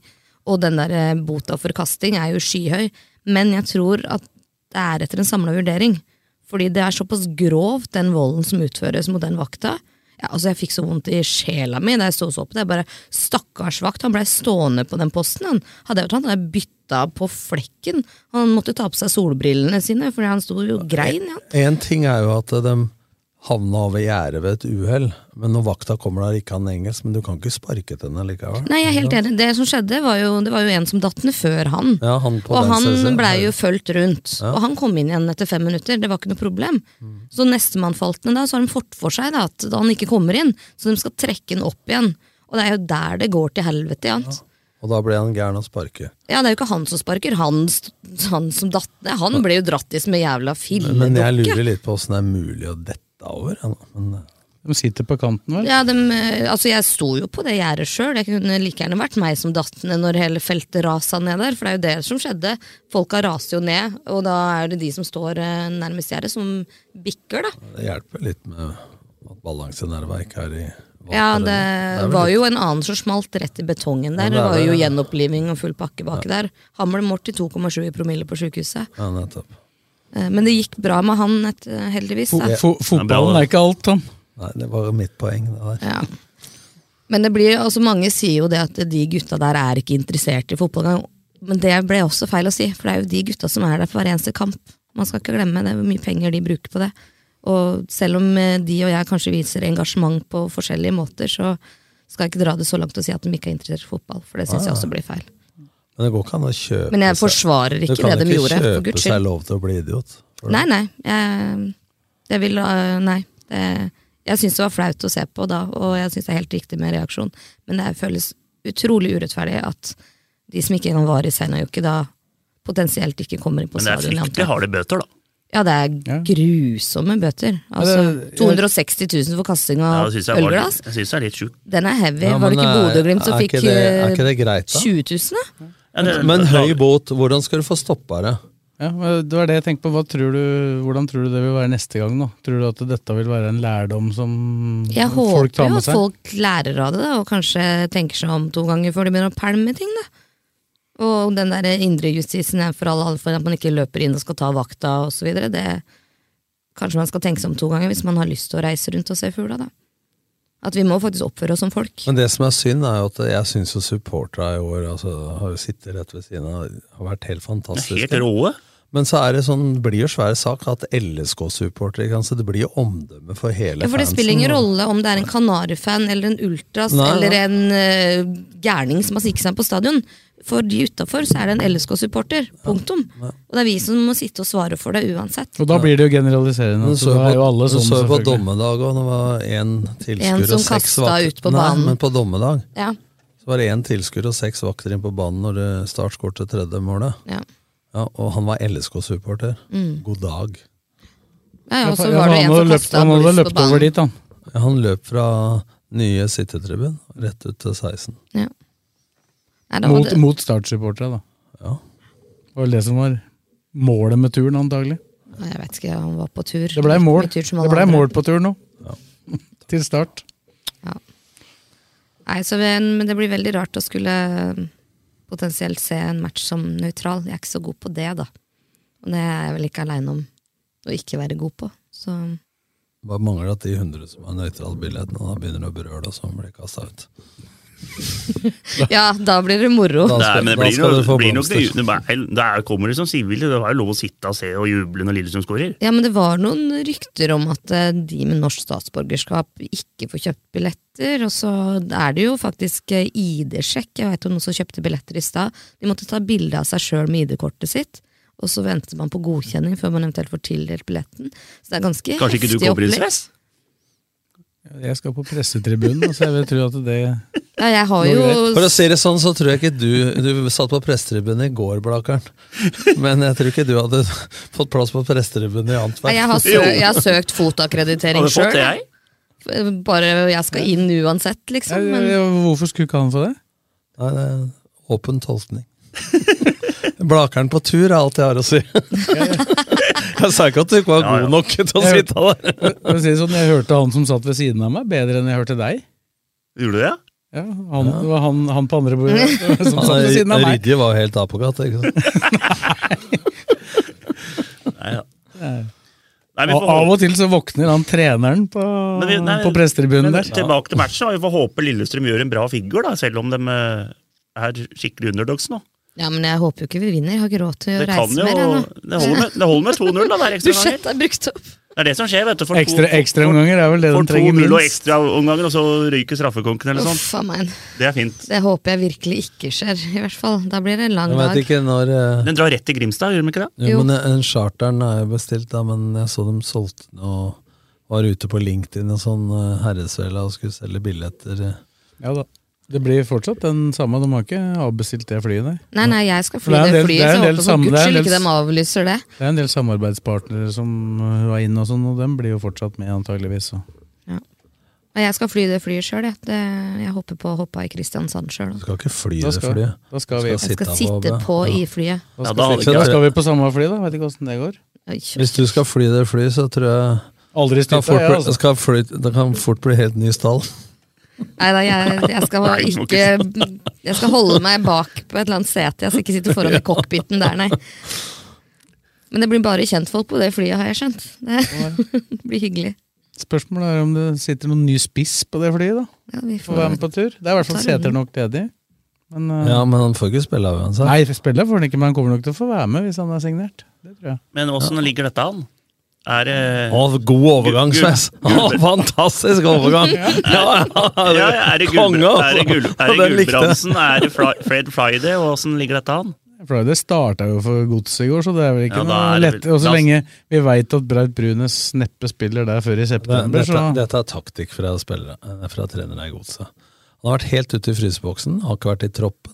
Og den der eh, bota for kasting er jo skyhøy. Men jeg tror at det er etter en samla vurdering. Fordi det er såpass grovt, den volden som utføres mot den vakta. Ja, altså Jeg fikk så vondt i sjela mi da jeg sto og så på det. Jeg bare, Stakkars vakt, han blei stående på den posten. han. Hadde jeg vært han, hadde jeg bytta på flekken. Han måtte ta på seg solbrillene sine, fordi han sto jo og grein. Ja.
Én ting er jo at de havna over gjerdet ved et uhell, men når vakta kommer der ikke han engelsk, men du kan ikke sparke til henne likevel.
Nei, jeg er helt enig. Det som skjedde, var jo, det var jo en som datt ned før han.
Ja, han på
Og
den siden.
han blei jo fulgt rundt. Og han kom inn igjen etter fem minutter. Det var ikke noe problem.
Mm.
Så nestemann falt ned da, så har de fått for seg da, at han ikke kommer inn. Så de skal trekke han opp igjen. Og det er jo der det går til helvete. Ja.
Og da ble han gæren å sparke.
Ja, Det er jo ikke han som sparker, han, st- han som datt ned. Han ble jo dratt i som en jævla
Men jeg
filledokke.
lurer litt på åssen det er mulig å dette over. ja, Men, eh,
de sitter på kanten, vel?
Ja, dem, eh, altså jeg sto jo på det gjerdet sjøl. Det kunne like gjerne vært meg som datt ned når hele feltet rasa ned der. For det er jo det som skjedde. Folka raser jo ned, og da er det de som står eh, nærmest gjerdet, som bikker, da.
Det hjelper litt med at balansenerva ikke er i vann.
Ja, det,
er vel
var
litt-
jo en annen som smalt rett i betongen
Ja,
der.
det
Det
er
var
det,
jo
ja.
gjenoppliving og full pakke baki der. Han ble målt i 2,7 i promille på sjukehuset.
Ja, nettopp.
Eh, Men det gikk bra med han, et, eh, heldigvis.
Fo
Da.
fo fotballen er ikke alt, han.
Nei, det var jo mitt poeng. Det der.
Ja. Men det blir, altså mange sier jo det at de gutta der er ikke interessert i fotball. Men det ble også feil å si, for det er jo de gutta som er der for hver eneste kamp. Man skal ikke glemme det, hvor mye penger de bruker på det. Og selv om eh, de og jeg kanskje viser engasjement på forskjellige måter, så skal jeg ikke dra det så langt og si at de ikke er interessert i fotball, for det syns jeg også blir feil.
Men Ah. det går ikke an å kjøpe
Men jeg
seg-
forsvarer ikke
Du kan
det de
ikke
gjorde, for
kjøpe
Guds
seg
skyld.
lov til å bli idiot. For det-
Nei, nei. Jeg, jeg vil øh, Nei. Det, jeg syns det var flaut å se på da, og jeg syns det er helt riktig med reaksjon, men det føles utrolig urettferdig at de som ikke engang var i Seinajokki, da potensielt ikke kommer inn på
Men det er
stadion. i
fryktelig
Antwerp.
harde bøter, da.
Ja, det er grusomme bøter.
Ja,
Altså
det-
260 000 for kasting
Ja,
av
det synes jeg, var,
ølglass.
jeg synes det er litt sjukt.
Den er heavy.
Ja,
var det
men
ikke
er-
Bodø-Glimt som
er
fikk
ikke det- er ikke det
eh,
greit, da?
20 000? da?
Ja, det-
Men
la-
høy bot, hvordan skal du få stoppa det?
Ja, men det var det jeg tenkte på. Hva tror du, hvordan tror du det vil være neste gang? da? Tror du at dette vil være en lærdom som
Jeg håper
folk tar
jo
med
at
seg?
folk lærer av det, da, og kanskje tenker seg om to ganger før de begynner å pælme ting. da. Og den der indre justisen er for alle, for at man ikke løper inn og skal ta vakta osv. Kanskje man skal tenke seg om to ganger hvis man har lyst til å reise rundt og se fugla. da. At vi må faktisk oppføre oss som folk.
Men det som er synd, er jo at jeg syns jo supporterne i år altså, har jo sittet rett ved siden av, har vært helt fantastiske.
Helt råe.
Men så er det sånn, det blir jo svær sak at LSK-supportere ikke sant, så Det blir jo omdømme for hele
Ja, for det
fansen,
spiller ingen
og-
rolle om det er en Kanari-fan eller en Ultras
Nei,
eller
nei.
en eh, gærning som har sniket seg på stadion. For de utafor så er det en LSK-supporter. Punktum. Og det er vi som må sitte og svare for det uansett.
Og da blir det jo generaliserende.
Men så
altså, da er jo
på,
alle
du
sånn,
så jo på
selvfølgelig.
dommedag òg, det var én
En
tilskuer
som
og seks
kastet
vakter.
ut på banen.
Nei, men på dommedag
Ja,
så var det én tilskuer og seks vakter inn på banen når eh, Start skåret tredje målet.
ja.
Ja, og han var LSK-supporter.
Mm.
God dag.
Ja, ja, og så
Ja,
var det en
han hadde
som
løpt,
kasta
han hadde
Boris på
løpt
banen.
over dit, han.
Ja, Han løp fra nye sittetribun rett ut til 16.
Ja. Nei, da var
Mot,
det-
mot Start-supportere, da. Det var vel det som var målet med turen, antagelig.
Nei, Jeg vet ikke, han var på tur.
Det blei mål.
Tur som alle
Det ble
andre.
mål på turen nå. Til start.
Nei, så vi- men det blir veldig rart å skulle um, potensielt se en match som nøytral. Jeg er ikke så god på det, da. Og det er jeg vel ikke aleine om å ikke være god på. Så
Bare mangler at de 100 som har nøytrale billettene, da begynner å brøle, og så blir de kasta ut.
ja, da blir det moro.
Da
Nei,
skal-
men det
da
blir,
skal
noe,
du få
blir nok det,
blomster.
det er- Der kommer de som sivile. Det var jo lov å sitte og se og juble når Lillestrøm skårer.
Ja, men det var noen rykter om at eh, de med norsk statsborgerskap ikke får kjøpt billetter, og så er det jo faktisk eh, ID-sjekk. Jeg veit om noen som kjøpte billetter i stad. De måtte ta bilde av seg sjøl med ID-kortet sitt, og så venter man på godkjenning før man eventuelt får tildelt billetten. Så det er ganske
Kanskje ikke du
heftig
kommer,
opplegg.
Sves?
Jeg skal på pressetribunen, så jeg vil tro at det
Ja, jeg har jo
For å si det sånn, så tror jeg ikke du Du satt på prestetribunen i går, Blakeren. Men jeg tror ikke du hadde fått plass på prestetribunen i
Nei,
Antwerp.
jeg har, sø jeg har søkt fotakkreditering
Har du fått
sjøl.
det, jeg?
Bare jeg skal inn uansett, liksom. Men
Hvorfor skulle ikke han få det?
Nei, det er åpen tolkning. Blakeren på tur er alt jeg har å si. Jeg sa ikke at du ikke var god nok til å
Jeg-
sitte der.
For å si det sånn, Jeg hørte han som satt ved siden av meg, bedre enn jeg hørte deg.
Gjorde du det?
Ja, han, det var han, han på andre bordet som
Han
satt ved siden av meg.
Rydje var jo helt apokat. Ikke sant?
Nei, ja.
Nei.
Nei, vi
Av
får
av og til så våkner han treneren på,
Men vi- nei,
på prestetribunen
men
der.
Tilbake til matchen. da. Vi får håpe Lillestrøm gjør en bra figur, da, selv om de eh, er skikkelig underdogs nå.
Ja, men jeg håper jo ikke vi vinner. Jeg har ikke råd til
Det
å
kan
reise
jo
mer. jeg, nå.
Det holder med, det holder med 2-0, da. hver ekstra ganger.
Budsjettet er brukt opp.
Det er det som skjer, vet du. For to-
Ekstra, ekstraomganger er vel det
for
de
2-0
trenger
og
minst.
ekstraomganger, og så ryker straffekonken eller
Uff a
sånn.
meg.
Det er fint.
Det håper jeg virkelig ikke skjer, i hvert fall. Da blir det en lang
Jeg
dag.
vet ikke når eh,
Den drar rett til Grimstad, gjør den ikke det?
Jo, men en charteren er jo bestilt, da, men jeg så dem solgte den og var ute på LinkedIn og sånn eh, herresvela og skulle selge billetter. eh.
Ja da. Det blir fortsatt den samme, de har ikke avbestilt det flyet der.
Nei, nei, jeg skal
Det
fly
er en
det
del- det
flyet,
er
så
en
jeg håper
del
for
samme- det
guds
er
skyld
en del
ikke
s-
de avlyser det.
Det er en del samarbeidspartnere som øh, var inne og sånn, og dem blir jo fortsatt med antageligvis. Så.
Men jeg skal fly det flyet sjøl, jeg. Det, jeg håper på å hoppe i Kristiansand sjøl.
Du skal ikke fly
Da
det
skal-
flyet.
da skal
Du
vi-
Jeg skal sitte på i flyet.
Ja, da
Da, skal
hadde
vi,
ikke
så da
jeg-
skal vi på samme fly, da. Vet ikke åssen det går.
Hvis du skal fly det flyet, så tror jeg
Aldri
kan
styrta,
fort
jeg,
bli,
altså.
skal fly, det kan fort bli helt ny stall.
Nei da, jeg, jeg skal
Nei, du må
ikke Jeg skal holde meg bak på et eller annet sete. Jeg skal ikke sitte foran i cockpiten der, nei. Men det blir bare kjentfolk på det flyet, har jeg skjønt. Det blir hyggelig.
Spørsmålet er om det sitter noen ny spiss på det flyet, da.
Ja, vi
For å være med på tur. Det er i hvert fall
tar en-
seter nok ledig. Men, øh,
Ja, men han får ikke spille av uansett.
Nei, spiller får han ikke, men han kommer nok til å få være med hvis han er signert. Det tror jeg.
Men åssen ligger dette an? Er det
Å, god overgang,
Gu- gu-
Sves! Å,
gulver.
fantastisk overgang! Ja, ja,
ja, ja, er det Gul-
Konge, altså.
er det Gul- er det
Den likte jeg.
Gulbrandsen? Er det Fri- Fred Friday? Og åssen ligger dette an?
For det starta jo for godset i går, så det er vel ikke
Ja, da
noe
er det
lett.
vel-
Og så
da-
lenge vi veit at Braut Brunes neppe spiller der før i september,
Dette,
så
dette er taktikk fra, spillere, eh, fra trenere i Godset. Han har vært helt ute i fryseboksen, har ikke vært i troppen.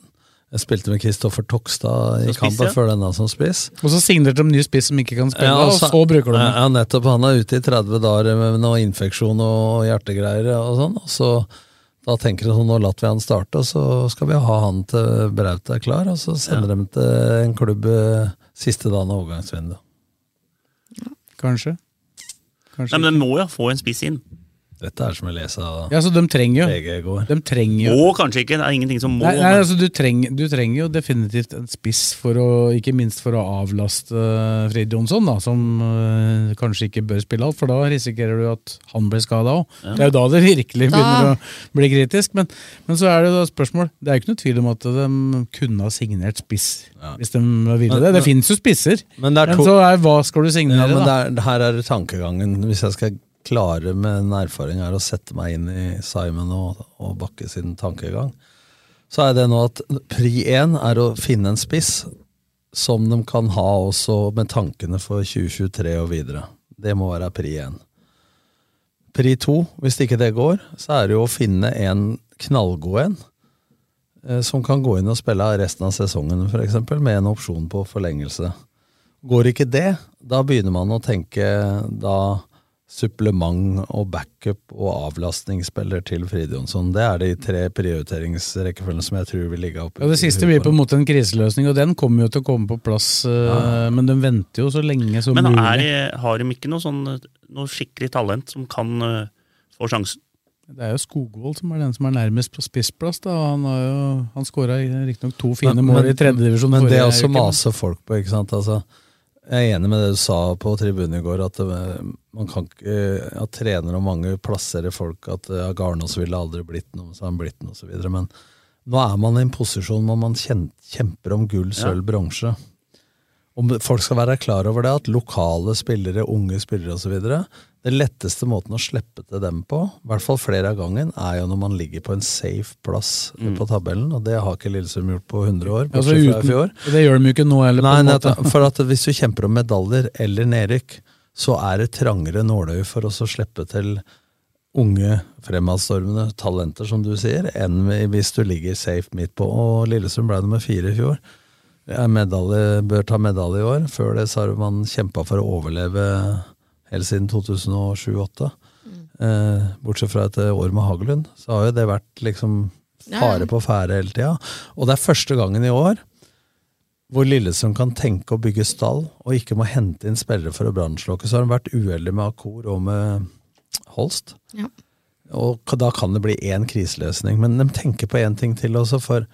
Jeg spilte med Kristoffer Tokstad i
Som spiss,
kampen
ja.
før denne som spiss.
Og så signerte de ny spiss som ikke kan spille,
Ja,
og
altså,
så bruker de den.
Ja, nettopp. Han er ute i 30 dager med noe infeksjon og hjertegreier og sånn. Og så da tenker de sånn, nå lar vi han starte, og så skal vi ha han til Braut er klar. Og så sender de til en klubb eh, siste dagen av overgangsvinduet.
Kanskje. Kanskje.
Nei, men Den må jo få en spiss inn.
Dette er som jeg leser av
Ja, så de trenger jo.
VG i går.
De trenger jo.
Må kanskje ikke, det er ingenting som må.
Nei, nei,
men-
altså, du, trenger, du trenger jo definitivt en spiss, for å, ikke minst for å avlaste eh, Fred Jonsson, da, som eh, kanskje ikke bør spille alt, for da risikerer du at han blir skada òg.
Ja.
Det er jo da det virkelig begynner
Da-
å bli kritisk. Men, men så er det da spørsmål Det er jo ikke noe tvil om at de kunne ha signert spiss hvis de ville
Men-
det.
men-
Det fins jo spisser,
Men det er to-
så er hva skal du signere,
Ja, men
da?
det er, her er det tankegangen. Hvis jeg skal klare med en erfaring her å sette meg inn i Simon og, og Bakke sin tankegang, så er det nå at pri én er å finne en spiss som de kan ha også med tankene for 2023 og videre. Det må være pri én. Pri to, hvis ikke det går, så er det jo å finne en knallgod en. eh, Som kan gå inn og spille resten av sesongen, f.eks., med en opsjon på forlengelse. Går ikke det, da begynner man å tenke Da supplement og backup og avlastningsspiller til Fride Jonsson. Det er de tre prioriteringsrekkefølgene som jeg tror vil ligge oppe.
Ja, det siste blir på en måte en kriseløsning, og den kommer jo til å komme på plass. eh,
Ja.
Men de venter jo så lenge som
Men er,
mulig.
har de ikke noe, sånn, noe skikkelig talent som kan eh, få sjansen?
Det er jo Skogvold som er den som er nærmest på spissplass. Da. Han, har jo, han skåra riktignok to fine mål i tredjedivisjon
Men det
forrige
også
uke, men-
maser folk på, ikke sant. Altså, jeg er enig med det du sa på tribunen i går, at det, man kan ikke eh, At trenere og mange plasserer folk at ja, Garnås ville aldri blitt noe, så har han blitt noe, osv. Men nå er man i en posisjon hvor man kjen- kjemper om gull,
Ja.
sølv, bronse. Om folk skal være klar over det, at lokale spillere, unge spillere osv. Det letteste måten å slippe til dem på, i hvert fall flere av gangen, er jo når man ligger på en safe plass eh, på tabellen, og det har ikke Lillesund gjort på 100 år.
Mm.
bortsett
Altså,
fra i
uten-
fjor.
Det gjør de jo ikke nå heller. på
Nei,
en måte.
nettopp, for at hvis du kjemper om medaljer eller nedrykk, så er det trangere nåløye for oss å slippe til unge, fremadstormende talenter, som du sier, enn hvis du ligger safe midt på. Og Lillesund ble nummer fire i fjor. Ja, medalje, bør ta medalje i år. Før det så har man kjempa for å overleve helt siden 2007-2008. Eh, bortsett fra et år med Hagelund, så har jo det vært liksom
Ja, ja.
fare på ferde hele tida. Og det er første gangen i år hvor Lillesund kan tenke å bygge stall, og ikke må hente inn spillere for å brannslokke. Så har de vært uheldige med Akor og med Holst.
Ja.
Og k- da kan det bli én kriseløsning. Men de tenker på én ting til også, for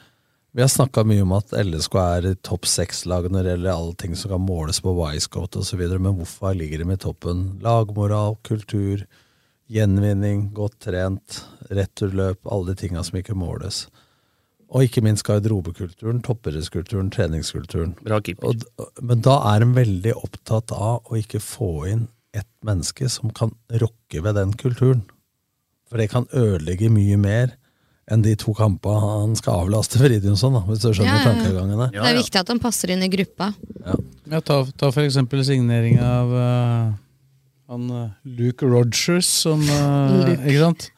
vi har snakka mye om at LSK er i topp seks-lag når det gjelder allting som kan måles på Wisecoat osv., men hvorfor ligger de i toppen? Lagmoral, kultur, gjenvinning, godt trent, returløp, alle de tinga som ikke måles. Og ikke minst garderobekulturen, toppidrettskulturen, treningskulturen.
Bra keeper.
Og, d- men da er de veldig opptatt av å ikke få inn ett menneske som kan rokke ved den kulturen. For det kan ødelegge mye mer enn de to kampa han skal avlaste Fridtjonsson, da, hvis du skjønner
Ja, ja, ja.
tankegangen der.
Det er viktig at han passer inn i gruppa.
Ja, ta, ta for eksempel signeringa av eh, han eh, Luke Rogers, som eh,
Luke.
Ikke sant?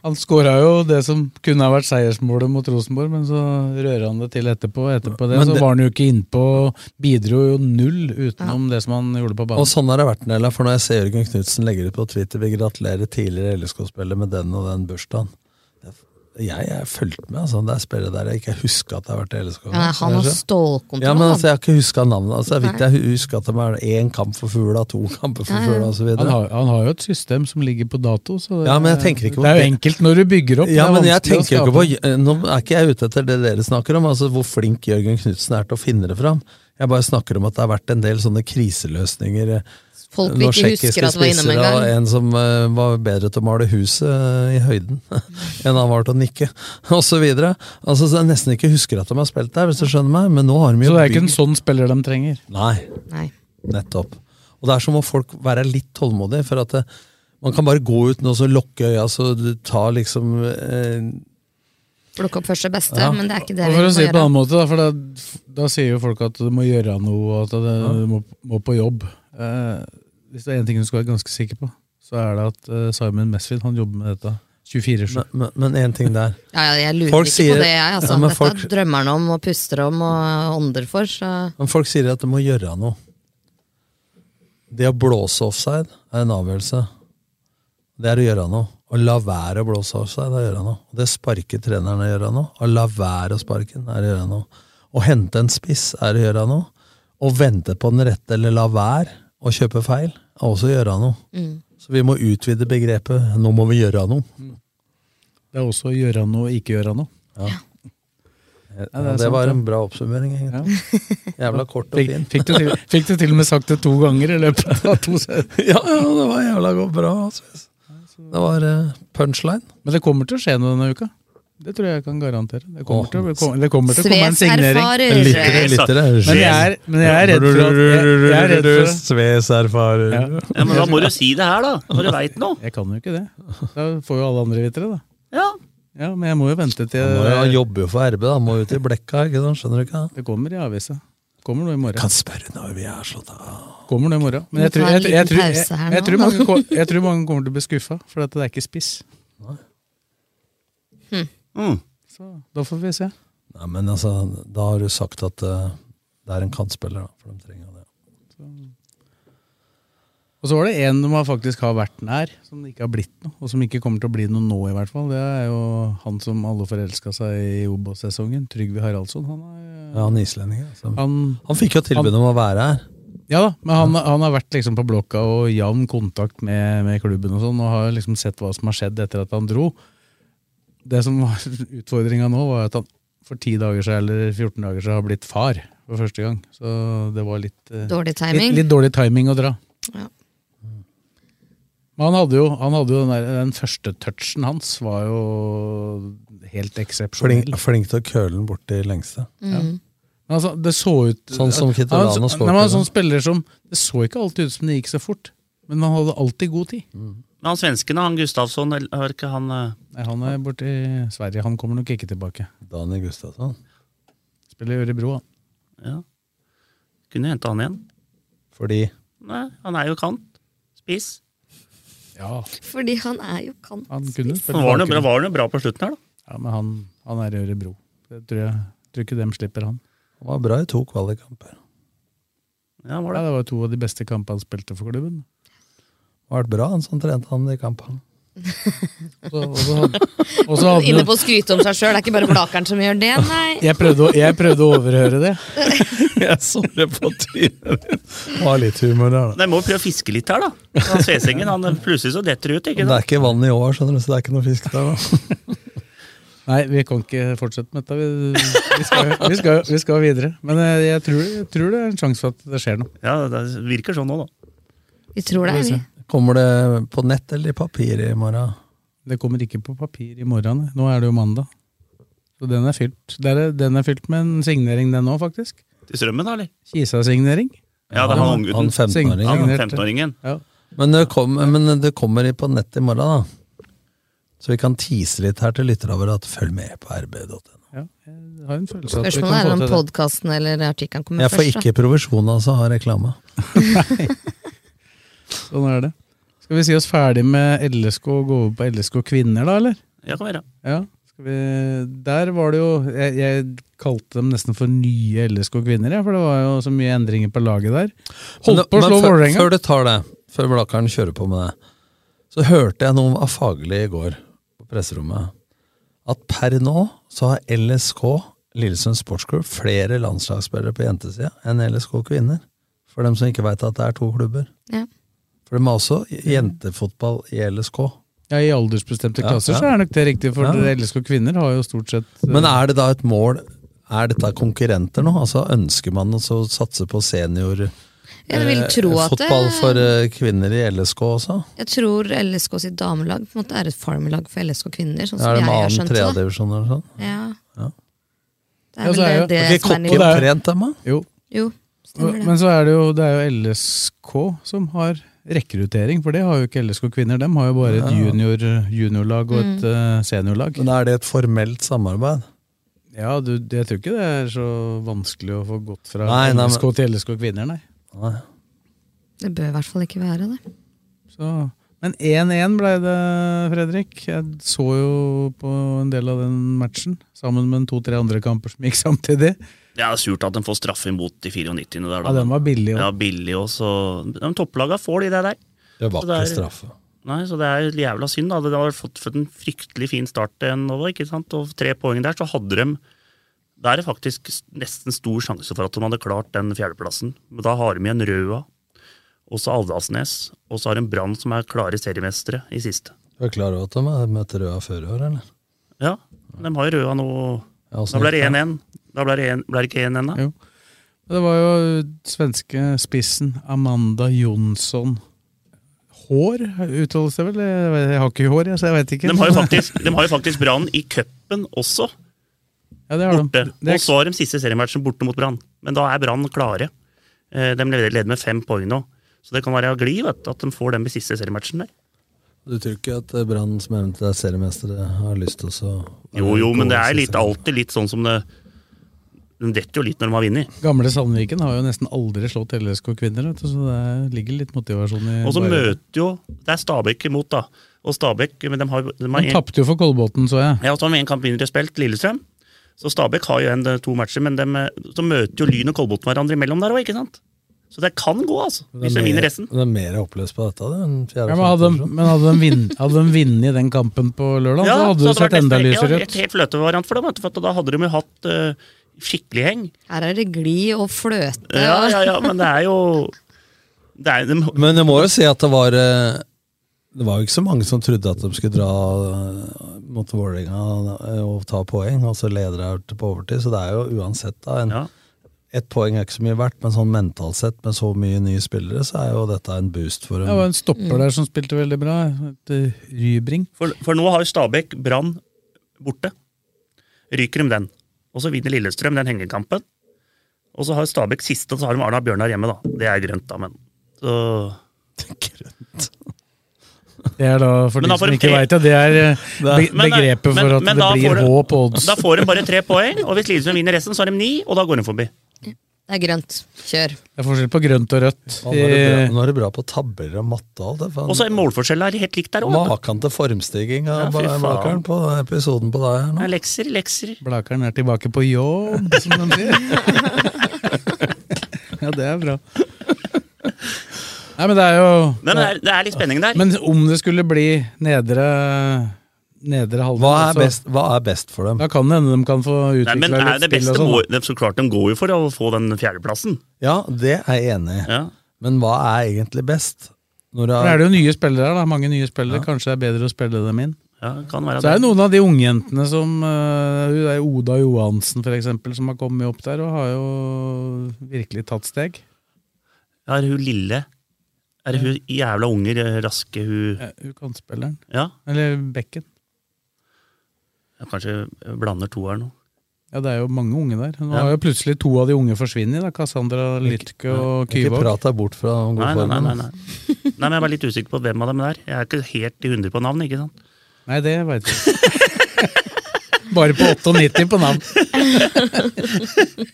Han skåra jo det som kunne ha vært seiersmålet mot Rosenborg, men så rører han det til etterpå. og Etterpå det,
Men
så
det-
var han jo ikke innpå. Bidro jo null utenom det som han gjorde på
Og
banen.
sånn har det vært, Nella, for når jeg ser Jørgen Knutsen legger ut på Twitter vi gratulerer tidligere LSK-spiller med den og den bursdagen. Jeg jeg har fulgt med, altså. Det er spillere der jeg ikke husker at det har vært i LSK.
Ja, han har stålkontroll.
Ja, men altså,
han.
Jeg har ikke huska navnet. Altså, det er viktig jeg husker at det er én kamp for fugla, to kamper for
Ja, ja.
fugla osv.
Han har, han har jo et system som ligger på dato, så det,
Ja, men jeg tenker ikke på
det er jo
det.
enkelt når du bygger opp.
Ja,
det er
men jeg
vanskelig å
tenker jo ikke
skape.
på eh, Nå er ikke jeg ute etter det dere snakker om, altså hvor flink Jørgen Knutsen er til å finne det fram. Jeg bare snakker om at det har vært en del sånne kriseløsninger. eh,
Folk vi
noen
ikke
tsjekkiske
husker at var innom en
spissere, Og
gang.
en som eh, var bedre til å male huset eh, i høyden enn han var til å nikke, osv. Altså, så jeg nesten ikke husker at de har spilt der, hvis du skjønner meg. Men nå har de jo
Så det er ikke en
bygd-
sånn spiller de trenger.
Nei.
Nei.
Nettopp. Og der så må folk være litt tålmodige, for at det, man kan bare gå ut nå og så lukke øya, så du tar liksom eh,
Plukke opp først det beste,
Ja.
men det er ikke det
Og
vi
for å
må
si det på en
gjøre.
annen måte, da, for da, da sier jo folk at du må gjøre noe, og at du må, må på jobb. Eh, hvis det er én ting du skal være ganske sikker på, så er det at eh, Simon Mesfield han jobber med dette 24-7.
Men- Men én ting der.
Ja, ja, jeg lurer
Folk
ikke
sier-
på det, jeg. Altså.
Ja, men
Dette
folk-
drømmer han om og puster om og ånder for. Så.
Men folk sier at du må gjøre noe. Det å blåse offside er en avgjørelse. Det er å gjøre noe. Å la være å blåse offside er å gjøre noe. Det sparker treneren er å gjøre noe. Å la være å sparke den er å gjøre noe. Å hente en spiss er å gjøre noe. Å vente på den rette eller la være å kjøpe feil er også å gjøre noe.
Mm.
Så vi må utvide begrepet 'nå må vi gjøre noe'.
Det er også å gjøre noe og ikke gjøre noe.
Det,
Ja, det er
det
sant,
var
ja.
en bra oppsummering. egentlig. Jævla kort og
Fikk,
fin.
fikk, du til, fikk du til og med sagt det to ganger i løpet av to sett.
Ja, ja, det var jævla godt bra. Altså. Det var eh, punchline.
Men det kommer til å skje noe denne uka. Det tror jeg jeg kan garantere. Det kommer
Åh,
til, å- det kommer- det kommer til å komme en
Sves
signering.
erfarer.
eh,
Men jeg er, men jeg er redd for at jeg, jeg er redd for at,
Sves erfarer.
ja.
Ja, men da må du si det her, da! Når du veit noe.
Jeg kan jo ikke det. Da får jo alle andre vite det, da.
Ja.
Ja, men jeg må jo vente til
Han må jo- han jobber jo for RB, da. Han må ut i blekka, ikke sant? Skjønner du ikke?
Det kommer i avisa. Kommer nå i morgen.
Kan spørre når vi er slått av.
Kommer nå i morgen. Men
Vi
jeg tror,
tar en
jeg, jeg,
liten
tror- jeg,
pause her
jeg,
nå.
tror mange, kom- jeg tror mange kommer til å bli skuffa, for at det er ikke spiss.
Mm.
Så da får vi se.
Nei, men altså, da har du sagt at eh, det er en kantspiller, da. For de trenger det.
Og så var det en som har faktisk har vært nær, som det ikke har blitt noe. Og som ikke kommer til å bli noe nå, i hvert fall. Det er jo han som alle forelska seg i Obos-sesongen. Trygve Haraldsson. Han, er,
Ja, han islendingen. Altså.
han,
Han fikk jo tilbud om å være her.
ja da, men han, han har vært liksom på blokka og jevn kontakt med, med klubben og sånn, og har liksom sett hva som har skjedd etter at han dro. Det som var utfordringa nå, var at han for 10 dager siden eller 14 dager siden har blitt far for første gang. Så det var litt, eh,
Dårlig timing.
litt, litt dårlig timing å dra.
Ja.
Men han hadde jo, han hadde jo den, der, den første touchen hans var jo helt
Flink,
eksepsjonell.
flink til å køle den bort til lengste.
Mm.
Men Altså, det så ut
Sånn som Kittelano
Han var en så-
skårte
nei, men han var en
nå.
sånn spiller som Det så ikke alltid ut som det gikk så fort, men han hadde alltid god tid.
Men han svensken, han Gustavsson, eller- har ikke han eh,
Nei, han er borte i Sverige. Han kommer nok ikke tilbake.
Daniel Gustavsson.
Spiller i Ørebro, han.
ja. Kunne hente han igjen.
Fordi
Nei, han er jo kant. Spiss.
Ja,
Fordi han er jo kant.
han kunne
Han
spille
var noe, bra,
bakgrunn.
var noe bra på slutten her, da.
Ja, men han, han er i Ørebro. Det tror jeg tror ikke dem slipper han.
han var bra i to kvalikkamper.
Ja, han var
Ja,
det.
det var to av de beste kampene han spilte for klubben.
Var det bra han som trente han i kampene?
Og så- og så hadde- og så hadde
Inne
han
på å skryte om seg sjøl, det er ikke bare Blakeren som gjør det, nei.
jeg prøvde, å, jeg prøvde å overhøre det.
Jeg så det på trynet ditt! Har litt humor der, da.
Nei, må jo prøve å fiske litt her, da. Han Svesengen, han eh, plutselig så detter det ut,
Det
ikke
er
sant?
ikke vann i år, skjønner du, så det er ikke noe fisk der. Da.
Nei, vi kan ikke fortsette med dette. Vi, vi, skal, vi, skal, vi skal videre. Men eh, jeg tror, jeg tror det er en sjanse for at det skjer noe.
Ja, det virker sånn nå, da.
Vi tror det, er vi.
Kommer det på nett eller i papir i morgen?
Det kommer ikke på papir i morgen. Nå er det jo mandag. Så den er fylt. Det er, den er fylt med en signering, den òg, faktisk.
Til strømmen, da, eller?
Kisa-signering.
Ja, det er han unggutten.
Han 15-åringen.
Sign-
Han
signerte.
15-åringen.
Ja.
Men det, kom, men det kommer på nett i morgen, da. Så vi kan tease litt her til lytterne våre at følg med på rb.no.
ja. Jeg har en følelse at vi
Spørsmålet er
kan
om
få til det.
podkasten eller artikkelen kommer
Jeg får
først.
ikke provisjon altså av reklame.
Sånn er det. Skal vi si oss ferdig med LSK og gå over på LSK kvinner, da, eller?
Ja, kan være.
Ja, skal vi, der var det jo jeg, jeg kalte dem nesten for nye LSK kvinner, jeg, for det var jo så mye endringer på laget der. Holdt på å slå
før,
Vålerenga.
før du tar det, før Blakkaren kjører på med det, så hørte jeg noe av Fagerli i går på presserommet. At per nå så har LSK, Lillesund Sportsklubb, flere landslagsspillere på jentesida enn LSK kvinner. For dem som ikke veit at det er to klubber.
Ja.
For de har også
Mm.
jentefotball i LSK.
Ja, I aldersbestemte
Ja,
klasser
ja.
så er nok det riktig, for
Ja.
dere LSK kvinner har jo stort sett eh,
Men er det da et mål Er dette konkurrenter nå? Altså Ønsker man å satse på senior
Jeg vil
eh,
tro at det,
fotball for eh, kvinner i LSK også?
Jeg tror LSK sitt damelag på en måte er et farmlag for LSK kvinner, sånn som
er det
jeg
med
har
annen
skjønt det.
tredjedivisjon eller sånn?
da. Ja.
Ja.
Det
Ja,
er
så er
vel
jo-
det
Ikke
som er
kokken
nivået.
nivå.
trent dem, da?
Jo,
Jo, stemmer det.
men så er det jo, det er jo LSK som har rekruttering, for det har jo ikke LSK kvinner. Dem har jo bare
Ja.
et junior, juniorlag og
Mm.
et eh, seniorlag.
Men er det et formelt samarbeid?
Ja, du, jeg tror ikke det er så vanskelig å få gått fra
Nei, nei, men-
LSK til LSK kvinner, nei.
Nei.
Det bør i hvert fall ikke være det.
Så, men 1-1 ble det, Fredrik. Jeg så jo på en del av den matchen, sammen med en to-tre andre kamper som gikk samtidig.
Det er surt at de får straffe imot i 94. Der,
Ja, den var billig.
Ja,
også.
billig også. De topplaga får de det der.
Det var
Så det
ikke
er-
straffe.
Nei, så det er jævla synd. da. Det har fått, fått en fryktelig fin start til nå, ikke sant? Og tre poeng der, så hadde de Da er det faktisk s- nesten stor sjanse for at de hadde klart den fjerdeplassen. Men da har de igjen Røa, og så Aldalsnes, og så har de Brann som er klare seriemestere i siste.
Du er klar over at de har møtt Røa før i år, eller?
Ja, de har jo Røa nå.
Ja, også
Da ble det
nytt,
1-1. Da ble det, en, ble det ikke 1-1, da?
Jo. Det var jo svenske spissen Amanda Jonsson. Hår uttales det vel? Jeg jeg har ikke hår, jeg, så jeg veit ikke.
De har jo faktisk, de har jo faktisk Brann i cupen også,
ja, det har
borte.
de. Det
Og
er,
så har de siste seriematchen borte mot Brann. Men da er Brann klare. Eh, De leder leder med fem poeng nå. Så det kan være av glid vet du, at de får den siste seriematchen der.
Du tror ikke at eh, Brann, som eventuelt er seriemester, eh, har lyst til å
Jo, jo, men det er litt, alltid litt sånn som det De detter jo litt når de har vunnet.
gamle Sandviken har jo nesten aldri slått LSK kvinner, vet du, så det ligger litt motivasjon i
Og så
bare-
møter jo Det er Stabæk imot, da. Og Stabæk men de har, de har
Han
en,
tapte jo for Kolbotn, så jeg.
ja, så har de en kamp mindre spilt, Lillestrøm. eh, Så Stabæk har jo en, to matcher, men de, så møter jo Lyn og Kolbotn hverandre imellom der òg, ikke sant? Så det kan gå, altså. Hvis de vinner resten.
Det er mer oppløst på dette det, enn fjerde
Ja, men hadde, de- men hadde de vinn- hadde de vunnet den kampen på lørdag, så hadde det sett enda lysere
ut.
ut.
Helt fløtevariant for dem, vet du, for at da hadde de jo hatt eh, skikkelig heng.
Her er det glid og fløte.
Ja, ja, ja, men det er jo det er, de,
Men jeg må jo si at det var eh, Det var jo ikke så mange som trodde at de skulle dra eh, mot Vålerenga eh, og ta poeng, og så leder de til på overtid. Så det er jo uansett, da. En, Ett poeng er ikke så mye verdt, men sånn mentalt sett, med så mye nye spillere, så er jo dette en boost for
Det var
dem.
en stopper der som spilte veldig bra. Et Rybring.
For, for nå har jo Stabæk Brann borte. Ryker de den. Og så vinner Lillestrøm den hengekampen. Og så har Stabæk siste, og så har de Arna Bjørnar hjemme, da. Det er grønt, da, men så,
Det er da, for
Men da
de
får
som
de
ikke
tre-
veit det, det er eh, be
Men, eh,
begrepet
men-
for at
men
det
da får
blir
de-
H på odds.
Da får de bare tre poeng, og hvis Lillestrøm vinner resten, så har de ni, og da går de forbi.
Det er grønt. Kjør.
Det er forskjell på grønt og rødt. Eh,
Nå er det bra- nå er det bra på tabeller og matte og alt det.
Og så er målforskjellen helt lik der òg.
Maken til formstigning av
Ja, fy faen.
Blakeren på episoden på deg her nå.
Lekser, lekser.
Blakeren er tilbake på jobb, som de sier. ja, det er bra. Nei, men det er jo
Men det er- det er litt spenning der.
Men om det skulle bli nedre Nedre halvdel
Hva er
altså,
best, hva er best for dem?
Da kan det hende de kan få
Nei, men
utvikla
er
litt
det
spill
beste
og sånn.
må, det, Så klart de går jo for å få den fjerdeplassen.
Ja, det er jeg enig i. Men hva er egentlig best? Når du
For
har-
Da er det jo nye spillere, da. Mange nye spillere. Kanskje det er bedre å spille dem inn.
Ja, det kan være
Så er
det.
det noen av de ungjentene som eh, Hun der Oda Johansen, for eksempel, som har kommet opp der og har jo virkelig tatt steg.
Ja, er hun lille? Er hun jævla unger, eh, raske hun
Ja, hun kantspilleren.
Ja,
Eller bekken.
jeg kanskje blander to her nå.
Ja, det er jo mange unge der. Nå
Ja.
har jo plutselig to av de unge forsvunnet. da. Cassandra Lytke og
Ikke
Kyvåg.
prat deg bort fra den
Nei,
gode
nei, nei,
formen.
nei, nei. nei, men jeg var litt usikker på hvem av dem det er. Jeg er ikke helt i hundre på navn, ikke sant?
Nei, det veit vi ikke. Bare på 98 på navn.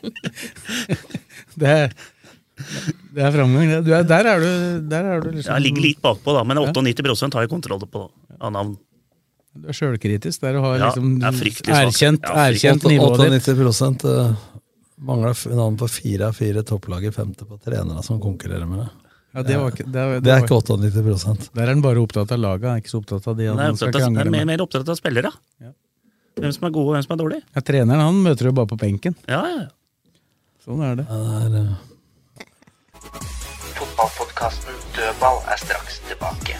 det, er- det er framgang, det. Du er, der, er du, der er du liksom
Jeg ligger litt bakpå, da, men 98 har jeg kontroll på da, av navn.
Du er sjølkritisk der og har
Ja,
liksom
jeg er fryktelig svak.
erkjent,
Jeg er fryktelig-
erkjent nivået ditt.
98 eh, mangler f- navn på fire av fire topplag i femte på trenere som konkurrerer med deg.
Ja, det, var ikke, det, var-
Det
det
er
var,
ikke 98
der er han bare opptatt av laget, han er ikke så opptatt av de
Men jeg
han
er,
skal
opptatt av, jeg
krangle
er mer,
med.
mer opptatt av spillere. Hvem som er gode, og hvem som er dårlige.
Ja, treneren han møter du bare på benken.
Ja, ja.
Sånn er det.
eh,
Fotballpodkasten Dødball er straks tilbake.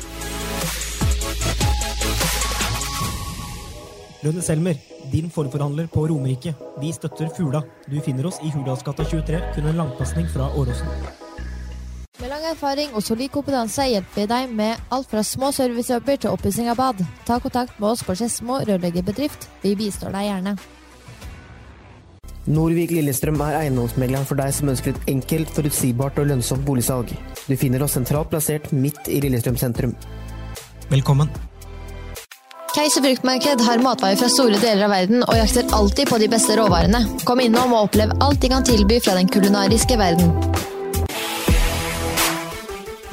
Rønne Selmer, din forforhandler på Romerike. Vi støtter Fula. Du finner oss i Hurdalsgata 23, kun en langpasning fra Åråsen.
Med lang erfaring og solid kompetanse hjelper vi deg med alt fra små servicejobber til oppussing av bad. Ta kontakt med oss på Skedsmo rørleggerbedrift. Vi bistår deg gjerne.
Norvik Lillestrøm er eiendomsmegleren for deg som ønsker et enkelt, forutsigbart og lønnsomt boligsalg. Du finner oss sentralt plassert midt i Lillestrøm sentrum.
Velkommen.
Keiser fruktmarked har matvarer fra store deler av verden og jakter alltid på de beste råvarene. Kom innom og opplev alt de kan tilby fra den kulinariske verden.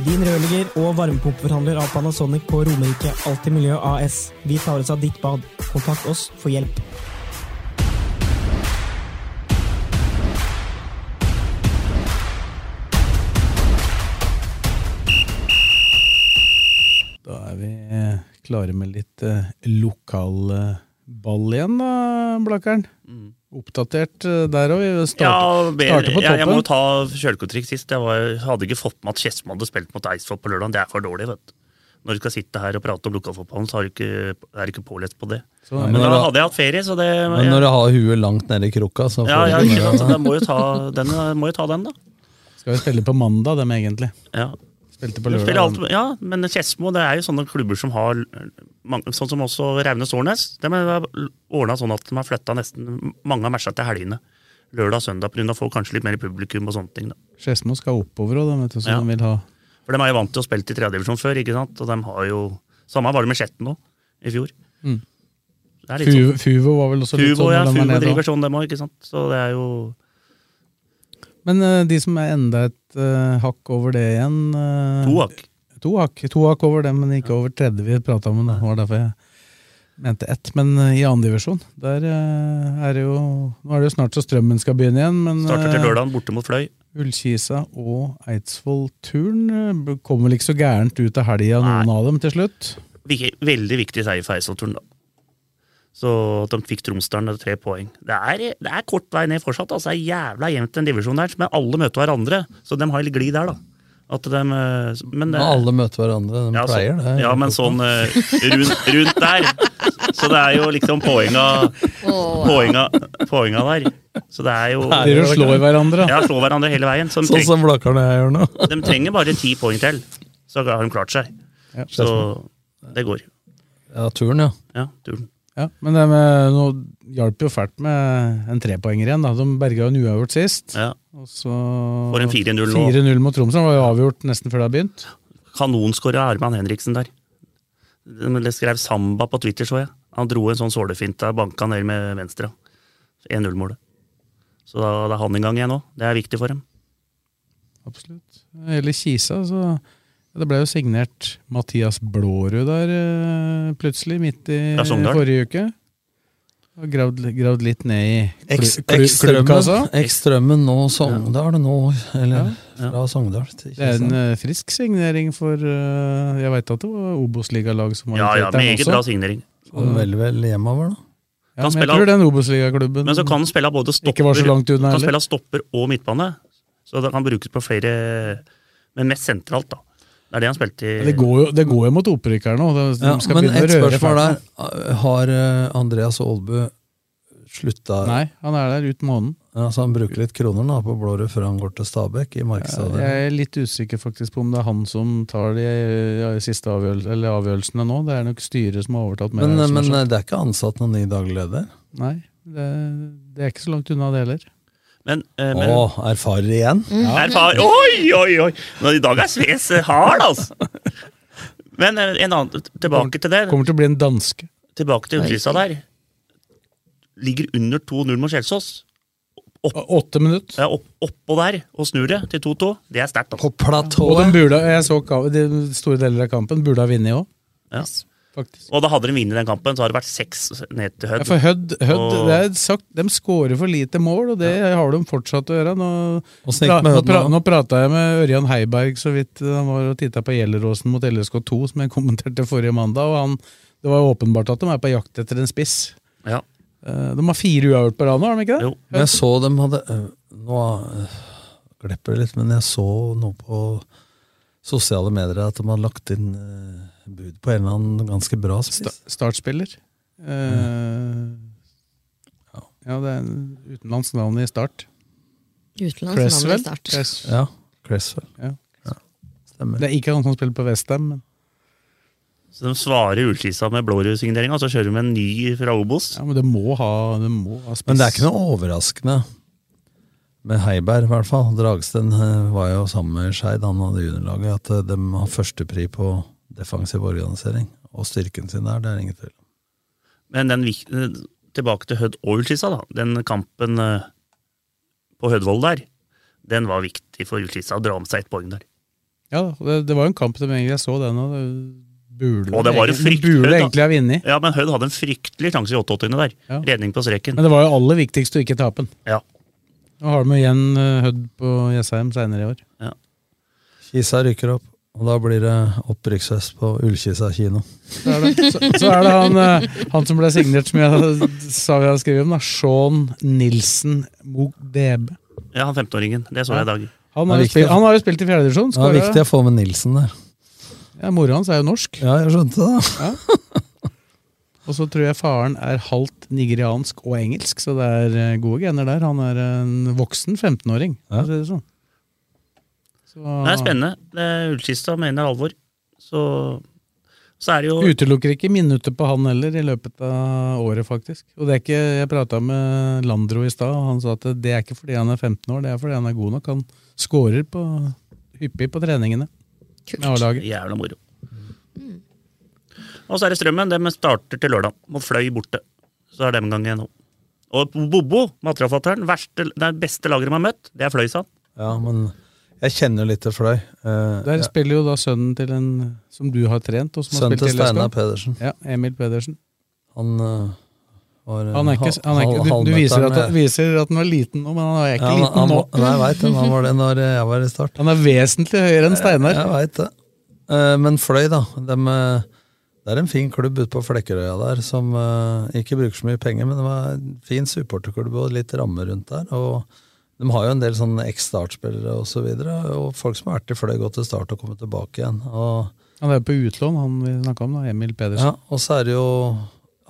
Din rørlegger og varmepumpeforhandler av Panasonic på Romerike Alltid Miljø AS. Vi tar oss av ditt bad. Kontakt oss for hjelp.
Da er vi eh, klare med litt eh, lokal eh, ball igjen, da, Blakkern. Oppdatert eh, der òg.
Mm. Ja,
Starte,
mer,
starte på
jeg, jeg må jo
toppen.
ta kjølkotrikk sist. Jeg var, hadde ikke fått med at Skedsmo hadde spilt mot Eidsvoll på lørdag. Det er for dårlig, vet du. Når du skal sitte her og prate om lokalfotballen, så har du ikke, er du ikke pålest på det.
Sånn
Ja, men
men da
når du-
hadde jeg hatt ferie, så det
Men når du har huet langt nede i krukka, så
ja, ja,
du
ikke sant, så da
med-
må jo ta den, må jo ta den da.
Skal jo spille på mandag, dem egentlig.
Ja.
Spilte på
Du spiller alt,
lørdag.
ja, men Skedsmo det er jo sånne klubber som har mange- Sånn som også Raunes Årnes. De har ordna sånn at de har flytta nesten mange av matchene til helgene. Lørdag og søndag, pga. å få kanskje litt mer publikum og sånne ting. da.
Skedsmo skal oppover òg, vet du, så
Ja.
de vil ha
For de er jo vant til å spille i tredjedivisjon før, ikke sant? Og de har jo Samme var det med Skjetten nå, i fjor.
Mm.
Det er litt
Fuvo
sånn.
Fuvo var vel også litt
Fuvo,
sånn
ja,
når de er
Fuvo
nede da.
driver sånn, dem òg, ikke sant. Så det er jo
Men eh, de som er enda et eh, hakk over det igjen eh,
To hakk.
To hakk. To hakk over det, men ikke over tredje vi prata om. Det var derfor jeg mente ett. Men eh, i andre divisjon, der eh, er det jo Nå er det jo snart så strømmen skal begynne igjen, men
Starter til
eh,
lørdagen, borte mot Fløy.
Ullkisa og Eidsvoll Turn eh, kom vel ikke så gærent ut av helga, noen av dem, til slutt?
Vik- Veldig viktig seier for Eidsvollturen, da. Så at de fikk Tromsdalen med tre poeng. Det er, det er kort vei ned fortsatt. Altså. Det er jævla jevnt den divisjonen der, men alle møter hverandre. Så de har litt glid der, da. At de, eh, men, eh,
Men alle møter hverandre, de
ja, så-
pleier det.
Ja, men sånn eh, rundt, rundt der. Så det er jo liksom poenga,
Åh.
poenga, poenga der. Så det er jo
Det er jo å slå i hverandre.
Ja, slå hverandre hele veien. Så de,
Sånn som
Blakarna jeg gjør nå.
de trenger bare ti poeng til, så har de klart seg. Så det går.
Ja, turen, ja.
Ja, turen.
Ja, men det med, nå hjalp jo fælt med en trepoenger igjen. Da. De berga en uavgjort sist.
Ja.
Og så
Får en 4-0 nå.
4-0 mot Tromsø. Det var jo avgjort nesten før det hadde begynt.
Kanonskårer Arman Henriksen der. Det skrev Samba på Twitter, så jeg. Han dro en sånn sålefinte, banka ned med venstre. 1-0-målet. Så da, det er han en gang igjen òg. Det er viktig for dem.
Absolutt. Eller Kisa, så Det ble jo signert Mathias Blårud der eh, plutselig, midt i
Fra Sogndal.
forrige uke. Og gravd, gravd litt ned i klu- klu- klubbkassa.
Ekstrømmen Ekstrømmen nå Sogndal nå, eller fra Sogndal til
Det er en
Kristiansand.
eh, frisk signering for eh, Jeg veit at det var Obos-ligalag som var
Ja, ja,
invitert der
meget
også.
bra signering.
eh,
Kom Sånn vel vel hjemover, da.
Ja, men jeg
spille-
tror den Obos-ligaklubben
Men så kan den spille av både stopper,
ikke var så langt unna
kan
heller.
spille av stopper og midtbane. Så det kan brukes på flere Men mest sentralt, da. Det er det han spilte i
Det går jo, det går jo mot opprykerne nå. De, de
Ja,
skal
men
begynne å
et
røre
spørsmål
fælt
der.
nå.
Har eh, Andreas Aalbu slutta
Nei, han er der ut måneden.
Ja, så han bruker litt kroner da, på Blårud før han går til Stabæk i markedsavdelingen.
Jeg er litt usikker faktisk på om det er han som tar de eh, siste avgjørel eller avgjørelsene nå. Det er nok styret som har overtatt. mer
Men,
av det som
men eh,
er sagt.
det er ikke ansatt noen ny daglig leder?
Nei, det, det er ikke så langt unna det heller.
Men, eh, men
Å, erfarer igjen?
Mm.
Er far- Oi, oi, oi! Nå, I dag er Sves hard, altså! Men eh, en annen, tilbake til det.
Kommer til å bli en danske.
Tilbake til Ullkisa der. Ligger under 2-0 mot Kjelsås.
Åtte minutter.
Ja, opp, oppå der og snur det til 2-2. Det er sterkt. altså.
Og de burde, jeg så ka- de store deler av kampen burde ha vunnet òg.
Ja. Og da hadde de vunnet den kampen, så hadde det vært seks ned til Hødd.
Ja, for Hødd, Hødd
Og-
det er sagt, de skårer for lite mål, og det har de fortsatt å gjøre. Nå,
Hvordan gikk det med
nå,
Hødd
pra,
nå?
nå prata jeg med Ørjan Heiberg så vidt eh, han var og titta på Gjelleråsen mot LSK2, som jeg kommenterte forrige mandag, og han, det var jo åpenbart at de er på jakt etter en spiss.
Ja.
Eh, De har fire uavgjort på rad nå, har de ikke det?
Men Jeg så dem hadde øh, Nå øh, glipper det litt, men jeg så noe på sosiale medier at de hadde lagt inn øh, bud på en eller annen ganske bra spiss.
Startspiller.
Mm.
Eh, ja, det er en utenlandsk navn i start.
Utenlands navn i
Cresswell?
start.
Cress-
Ja, Cresswell.
Ja.
Stemmer.
Det er ikke han som spiller på Westham, men
Så de svarer Ullkisa med blårødsigneringa, og så kjører de en ny fra Obos.
Ja, men det må ha, det må ha spiss.
Men det er ikke noe overraskende med Heiberg, i hvert fall. Dragsten øh, var jo sammen med Skeid, han hadde juniorlaget, at øh, de har førstepri på defensiv organisering. Og styrken sin der, det er ingen tvil om.
Men den, vik- eh, tilbake til Hødd og Ullkisa, da. Den kampen eh, på Hødvold der, den var viktig for Ullkisa å dra med seg ett poeng der.
Ja, da, og det, det var jo en kamp de egentlig jeg så den, og det burde,
Og det var jo
egentlig-
fryktelig
burde
da.
egentlig ha vunnet.
Ja, men Hødd hadde en fryktelig sjanse i 88. der. Redning på streken.
Men det var jo aller viktigst å ikke tape den.
Ja.
Nå har de igjen eh, Hødd på Jessheim seinere i år.
Kisa rykker opp, og da blir det opprykksfest på Ullkisa kino.
Så er det, så, så er det han, eh, han som ble signert, som jeg sa vi hadde skrevet om, da, Sean Nilsen Mogdebe.
Ja, han 15-åringen. Det så jeg i dag.
Han
Det
har,
er
jo
viktig,
spilt, han har jo spilt i fjerdedivisjon.
Det er viktig å få med Nilsen der.
Ja, Mora hans er jo norsk.
Ja, jeg skjønte det.
Og så tror jeg faren er halvt nigeriansk og engelsk, så det er eh, gode gener der. Han er en voksen 15-åring. for å si det Sånn. Så,
Det er spennende. Det er Ullkista mener alvor. Så, så er det jo
Utelukker ikke minutter på han heller i løpet av året, faktisk. Og det er ikke, Jeg prata med Landro i stad, og han sa at det er ikke fordi han er 15 år, det er fordi han er god nok. Han scorer på, hyppig på treningene. med A-laget.
Jævla moro. Og så er det Strømmen. De starter til lørdag. Mot Fløy borte. Så er det en gang igjen nå. Og Bobo, materialforfatteren, verste- det er beste laget de har møtt, det er Fløy, sa han.
Ja, men jeg kjenner jo litt til Fløy. Eh,
Der
ja.
spiller jo da sønnen til en som du har trent. og som har
Sønnen
spilt
til
i LSK.
Steinar Pedersen.
Ja, Emil Pedersen.
Han eh, Var,
Han er ikke, han er ikke, du, du viser at, viser at han var liten nå, men han er ikke liten
han,
nå.
han, Nei, jeg vet det. Han var det når eh, jeg var i start.
Han er vesentlig høyere enn Steinar.
Eh, Jeg vet det. Eh, Men Fløy, da. dem, eh, det er en fin klubb ute på Flekkerøya der, som eh, ikke bruker så mye penger, men det var en fin supporterklubb og litt ramme rundt der. og de har jo en del sånne eks-startspillere og så videre, og folk som har vært i Fløy, gått til start og kommet tilbake igjen. og
Han er på utlån, han vi snakka om, da, Emil Pedersen.
ja, og så er det jo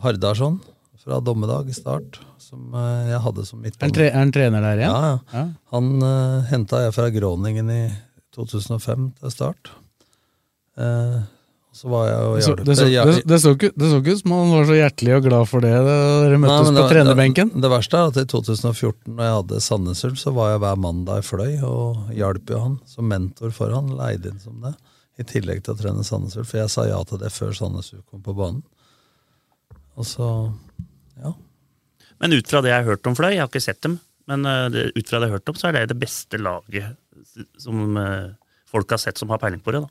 Hardarson fra Dommedag i start, som eh, jeg hadde som
Er han,
midtbane.
tre, er han trener der igjen?
Ja, ja. Han uh, henta jeg fra Groningen i 2005 til start. Eh, og så var jeg jo
Det så,
hjelpe-
det, så, det, det, så ikke, det så ikke ut som han var så hjertelig og glad for det da dere møttes
Nei, men
på
det var-
trenerbenken.
Det, det verste er at i 2014, når jeg hadde Sandnes Ulf, så var jeg hver mandag i Fløy og hjalp jo han som mentor for han. Leide inn som det. I tillegg til å trene Sandnes Ulf. For jeg sa ja til det før Sandnes Ulf kom på banen. Og så Ja.
Men ut fra det jeg har hørt om Fløy, jeg har ikke sett dem, men eh, det, ut fra det jeg har hørt om, så er det det beste laget s- som eh, folk har sett som har peiling på det. da.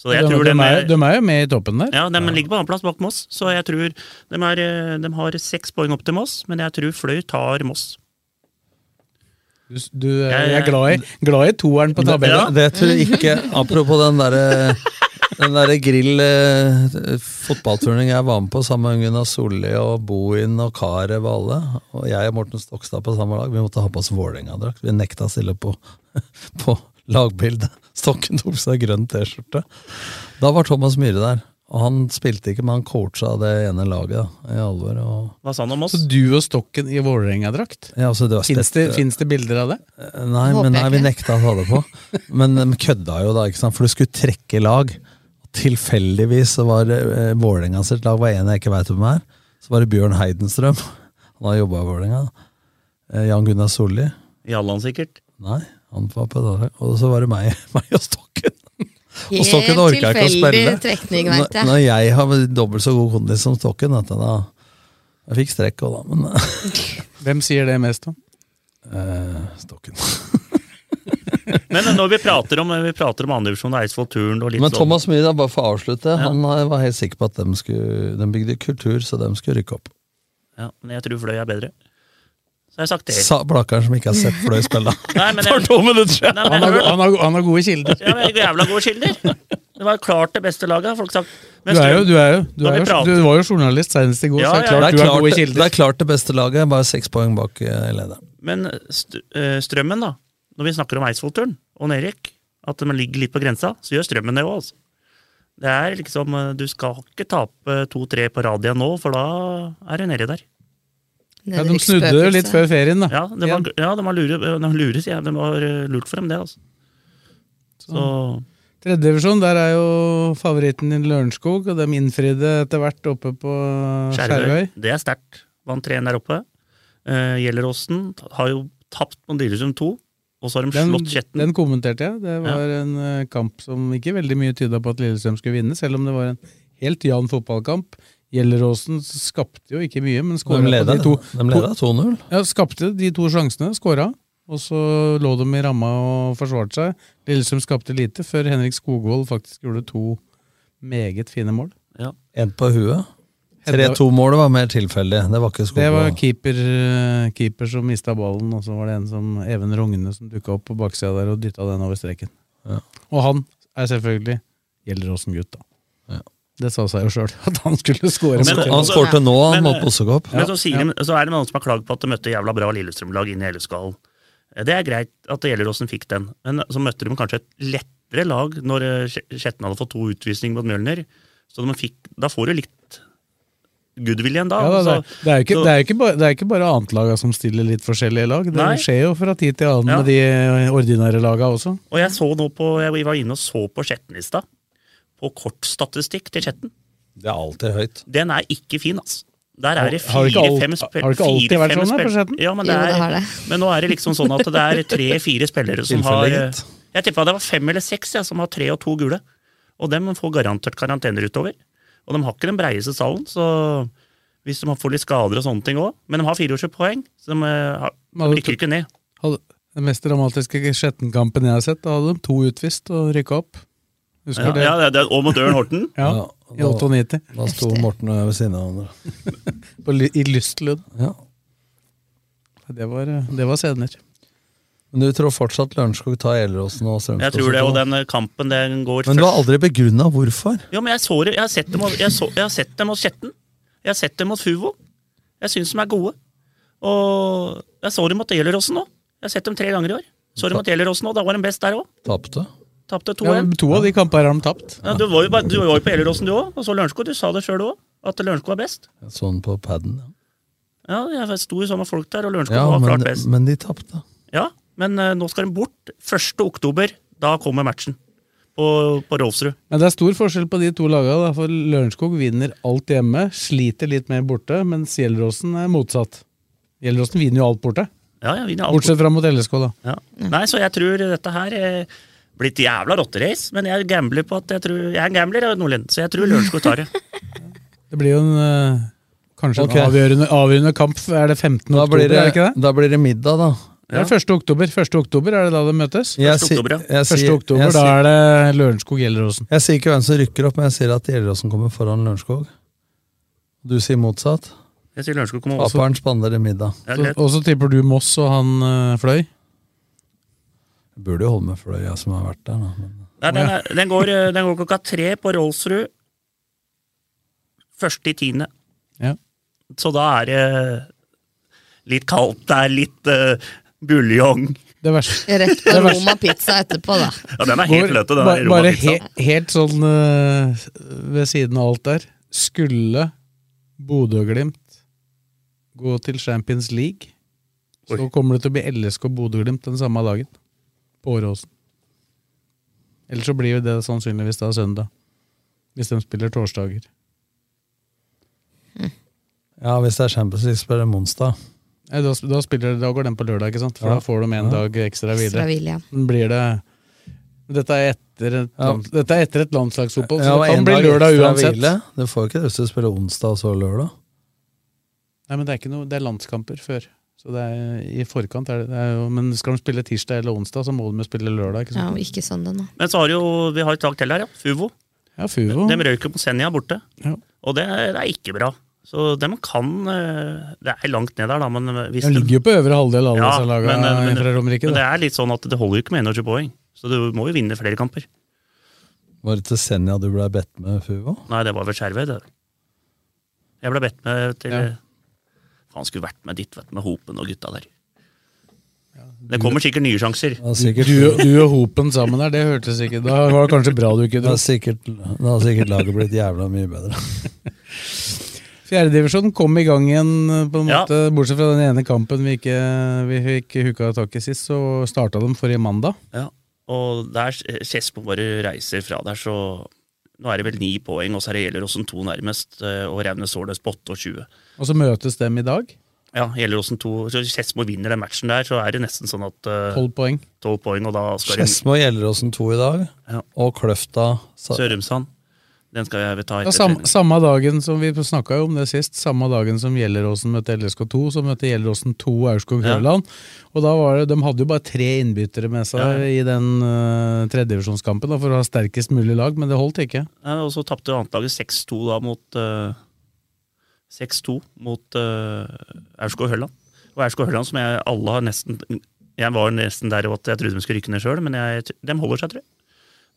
Så jeg
de,
tror
de,
dem
er, de er jo med i toppen der.
ja, de ligger på annenplass bak Moss, så jeg tror de, er, eh, de har seks poeng opp til Moss, men jeg tror Fløy tar Moss.
Du, du er,
Jeg-
jeg er glad i, glad i toeren på
Det,
tabellen.
det tror jeg ikke Apropos den derre den der grill eh, fotballturnering jeg var med på sammen med Gunnar Solli og Bohin og Carew og alle. Og jeg og Morten Stokstad på samme lag. Vi måtte ha på oss Vålerenga-drakt. Vi nekta å stille på, på lagbildet. Stokken tok på seg grønn T-skjorte. Da var Thomas Myhre der. Og han spilte ikke, men han coacha det ene laget da, i alvor. Og
Hva sa han om oss?
Så du og Stokken i Vålerenga-drakt?
Ja, altså, det var
Fins det,
spett-
finnes det bilder av det?
Nei,
Håper
men
jeg
nei, vi
ikke.
nekta å ta det på. Men de kødda jo da, ikke sant? for du skulle trekke lag. Tilfeldigvis så var eh, Vålerenga sitt lag var en jeg ikke veit hvem er. Så var det Bjørn Heidenstrøm. Han har jobba i Vålerenga. Eh, Jan Gunnar Solli.
Jalland, sikkert.
Nei, han var på det. laget. Og så var det meg, meg og Stokken.
Helt tilfeldig trekning,
Når,
vet jeg.
når jeg har dobbelt så god kondis som Stokken, vet du, da Jeg fikk strekk òg, da, men
Hvem sier det mest, da?
eh, Stokken.
Men eh, når vi prater om, vi prater om andredivisjon og Eidsvoll Turn og litt
Men
sånn-
Thomas Myhre, bare for å avslutte, han eh, var helt sikker på at de, skulle, de bygde kultur, så de skulle rykke opp.
Ja, men jeg tror Fløy er bedre. Så har jeg sagt det.
Sa Blakkaren som ikke har sett Fløy spille.
Nei, men
For
jeg-
to minutter siden!
Nei, men jeg hørte-
gode kilder.
Ja, men jævla gode kilder. Det var klart det beste laget, har folk sagt.
Du, er jo, du, er jo, du,
Når
er
vi
jo,
prater-
du var jo journalist senest i går,
Ja,
så det
ja,
er klart
det,
du
er
har gode
klart, det
kilder.
er klart det beste laget, bare seks poeng bak eh, lederen.
Men st eh, Strømmen, da. Når vi snakker om Eidsvollturen og Nerik, at de ligger litt på grensa, så gjør Strømmen det òg, altså. Det er liksom eh, Du skal ikke tape to-tre på rad igjen nå, for da er du nedi der.
Ja, de snudde jo litt før ferien, da.
Ja, det var, ja de var lure, de lure, sier jeg. Det var eh, lurt for dem, det, altså. Så
Tredjedivisjon, der er jo favoritten din Lørenskog, og de innfridde etter hvert oppe på Skjervøy.
Skjervøy, det er sterkt. Vant 3-1 der oppe. Uh, Gjelleråsen har jo tapt på Lillestrøm 2, og så har de
Den,
slått Kjetten.
den kommenterte jeg. Det var en eh, kamp som ikke veldig mye tyda på at Lillestrøm skulle vinne, selv om det var en helt jan fotballkamp. Gjelleråsen skapte jo ikke mye, men skåra
De leda
de to.
de leda 2-0.
Ja, skapte de to sjansene, skåra, og så lå de i ramma og forsvarte seg. Lillestrøm skapte lite, før Henrik Skogvold faktisk gjorde to meget fine mål.
Én på huet.
Hedda-
3-2-målet var mer tilfeldig. Det var ikke
Det var
skogmål.
keeper, eh, keeper som mista ballen, og så var det en som Even Rogne som dukka opp på baksida der og dytta den over streken.
Ja.
Og han er selvfølgelig Gjelleråsen-gutt, da. Det sa seg jo sjøl at han skulle skåre.
Men-
Han skårte nå, han
Men,
mot Bossekopp.
Men så, sier de, så er det noen som har klagd på at de møtte jævla bra Lillestrøm-lag inn i Elleskalen. Det er greit at Gjelleråsen fikk den, men så møtte de kanskje et lettere lag når eh, Skje- Skjetten hadde fått to utvisninger mot Mjølner. Så de fikk, da får du litt goodwill igjen, altså, da.
Ja, da,
Så-
det, er, det, er jo ikke,
så-
det, er jo ikke bare, det er ikke bare annetlaga som stiller litt forskjellige lag. Det
Nei.
skjer jo fra tid til annen
Ja.
med de eh, ordinære laga også.
Og jeg så nå på, jeg var inne og så på Skjetten i stad. På kortstatistikk til Skjetten.
Det er alltid høyt.
Den er ikke fin, altså. Der er det
Har det ikke alt-
fire-fem
har det ikke alltid vært sånn her på Skjetten?
Ja, men, det
Jo,
er,
det har det.
men nå er det liksom sånn at det er tre-fire spillere som har
Tilfeldig, gitt.
Jeg tippa det var fem eller seks ja, som har tre og to gule. Og dem får garantert karantener utover. Og de har ikke den breieste salen, så hvis de får litt skader og sånne ting òg. Men de har 24 poeng, så de, eh, har- de rykker ikke ned.
Hadde, den mest dramatiske Skjetten-kampen jeg har sett, da hadde de to utvist og rykka opp. Husker
Ja,
du det?
ja, det, det, og mot Ørn Horten.
Ja.
Ja,
I 98.
Da sto Morten og jeg ved siden av hverandre.
På, ly- I lystlønn.
Ja.
Det var, eh, det var senere.
Men du tror fortsatt Lørenskog tar Gjelleråsen og Strømskog?
Jeg tror det, og den eh, kampen den går
Men du har
først.
aldri begrunna hvorfor?
Jo, men jeg, så, det- jeg, har sett dem, over- jeg, så, jeg har sett dem mot Skjetten. Jeg har sett dem mot Fuvo. Jeg syns de er gode. Og jeg så dem mot Gjelleråsen nå. Jeg har sett dem tre ganger i år. Så dem mot Gjelleråsen nå, da var de best der òg.
Tapte?
Tapte 2-1.
Ja, men to av de kampene har de tapt.
Ja, du, var jo, bare- du var jo på Gjelleråsen du òg, og så Lørenskog. Du sa det sjøl òg, at Lørenskog er best.
Sånn på paden. ja.
Ja, jeg sto jo sammen med folk der, og Lørenskog
Ja,
var
men,
klart best.
men de tapte.
Ja, men eh, nå skal de bort. 1. oktober, da kommer matchen på, på Rolfsrud.
Men det er stor forskjell på de to lagene. Da, for Lørenskog vinner alt hjemme, sliter litt mer borte, mens Gjelleråsen er motsatt. Gjelleråsen vinner jo alt borte.
Ja, jeg vinner alt.
Bortsett fra mot LSK, da.
Ja. Nei, så jeg tror dette her eh, blir et jævla rotterace, men jeg gambler på at jeg tror Jeg er en gambler, jeg, Nordlien, så jeg tror Lørenskog tar det.
Det blir jo en eh, kanskje
Ok.
en avgjørende, avgjørende kamp. Er det 15.
Da
oktober,
blir,
er det ikke
det,
det?
da blir det middag, da.
Det er 1. oktober. 1. oktober er det da de møtes?
Jeg
1.
sier-
oktober, ja.
jeg
1.
sier-
oktober,
jeg
da
sier-
er det Lørenskog-Gjelleråsen.
Jeg sier ikke hvem som rykker opp, men jeg sier at Gjelleråsen kommer foran Lørenskog. Du sier motsatt.
Jeg sier Lørenskog kommer også.
Aperen spanderer middag.
Ja,
Så-
greit.
Og så tipper du Moss og han eh, Fløy?
Jeg burde jo holde med Fløy, jeg som har vært der. Da. Men
Nei, den, er, den, går, eh, den går klokka tre på Rolfsrud. Første i tiende.
Ja.
Så da er det eh, litt kaldt der, litt eh, buljong.
Det verste.
Rett på Roma pizza etterpå, da.
Ja, den er helt
Går-
løte, den
ba-
der
bare
romapizzaen.
he, helt sånn eh, ved siden av alt der. Skulle Bodø og Glimt gå til Champions League, så
Oi.
kommer det til å bli LSK og Bodø og Glimt den samme dagen. På Åråsen. Eller så blir jo det sannsynligvis da søndag. Hvis de spiller torsdager.
Ja, Hvis det er Champions League, spiller de onsdag.
Nei, da, da, spiller, da går den på lørdag, ikke sant? For
Ja.
da får de en
Ja.
dag ekstra hvile.
Stravilia.
Men blir det Dette er etter et,
Ja.
land, dette er etter et landslagsopphold, så
Ja, og
det
en
kan bli
dag
lørdag
ekstra
uansett.
hvile. Du får ikke det hvis du spiller onsdag og så lørdag.
Nei, men det er ikke noe, det er landskamper før. Så det er i forkant. Er det, det er jo, men skal de spille tirsdag eller onsdag, så må de jo spille lørdag. ikke
Ja,
sant?
og ikke søndag nå.
Men så har jo, vi har et lag til her, ja. Fuvo.
Ja, Fuvo.
De røyk jo på Senja borte,
Ja.
og det, er- det er ikke bra. Så de kan eh, Det er langt ned der, da, men hvis
De ligger jo på øvre halvdel, alle
Ja,
disse laga
men, eh, men-
fra Romerike.
Men det
da.
er litt sånn at det holder jo ikke med 21 poeng, så du må jo vinne flere kamper.
Var det til Senja du ble bedt med, Fuvo?
Nei, det var vel Skjervøy, det. Jeg ble bedt med til
Ja.
Faen, skulle vært med dit, vet du, med Hopen og gutta der. Det kommer sikkert nye sjanser.
Det er sikkert,
Du, du og Hopen sammen der, det hørtes ikke Da var det kanskje bra du
det
ikke dro.
er sikkert, det har sikkert laget blitt jævla mye bedre.
Fjerdedivisjonen kom i gang igjen, på en
Ja.
måte, bortsett fra den ene kampen vi ikke, vi ikke hooka tak i sist. Så starta de forrige mandag.
Ja. Og der eh, Skedsmo bare reiser fra der, så nå er det vel ni poeng, og så er det Gjelleråsen to nærmest, eh, og Raunes Sårnes på 28.
Og så møtes dem i dag.
Ja, Gjelleråsen to Så hvis Skedsmo vinner den matchen der, så er det nesten sånn at eh,
Tolv poeng.
tolv poeng, og da skal de
Skedsmo og Gjelleråsen to i dag,
Ja.
og Kløfta sa-
Sørumsand. Den skal jeg vel ta
Ja,
etter.
sam,
trening.
samme dagen som vi snakka om det sist, samme dagen som Gjelleråsen møtte LSK2, så møtte Gjelleråsen 2 Aurskog
Ja.
Høland. Og da var det, De hadde jo bare tre innbyttere med seg
Ja, ja.
i den uh, tredjedivisjonskampen da, for å ha sterkest mulig lag, men det holdt ikke.
Ja, og så tapte annetlaget 6-2 da mot eh, 6-2 mot eh, Aurskog Høland. Og Aurskog Høland som jeg alle har nesten Jeg var nesten der at jeg trodde de skulle rykke ned sjøl, men jeg, de holder seg, tror jeg.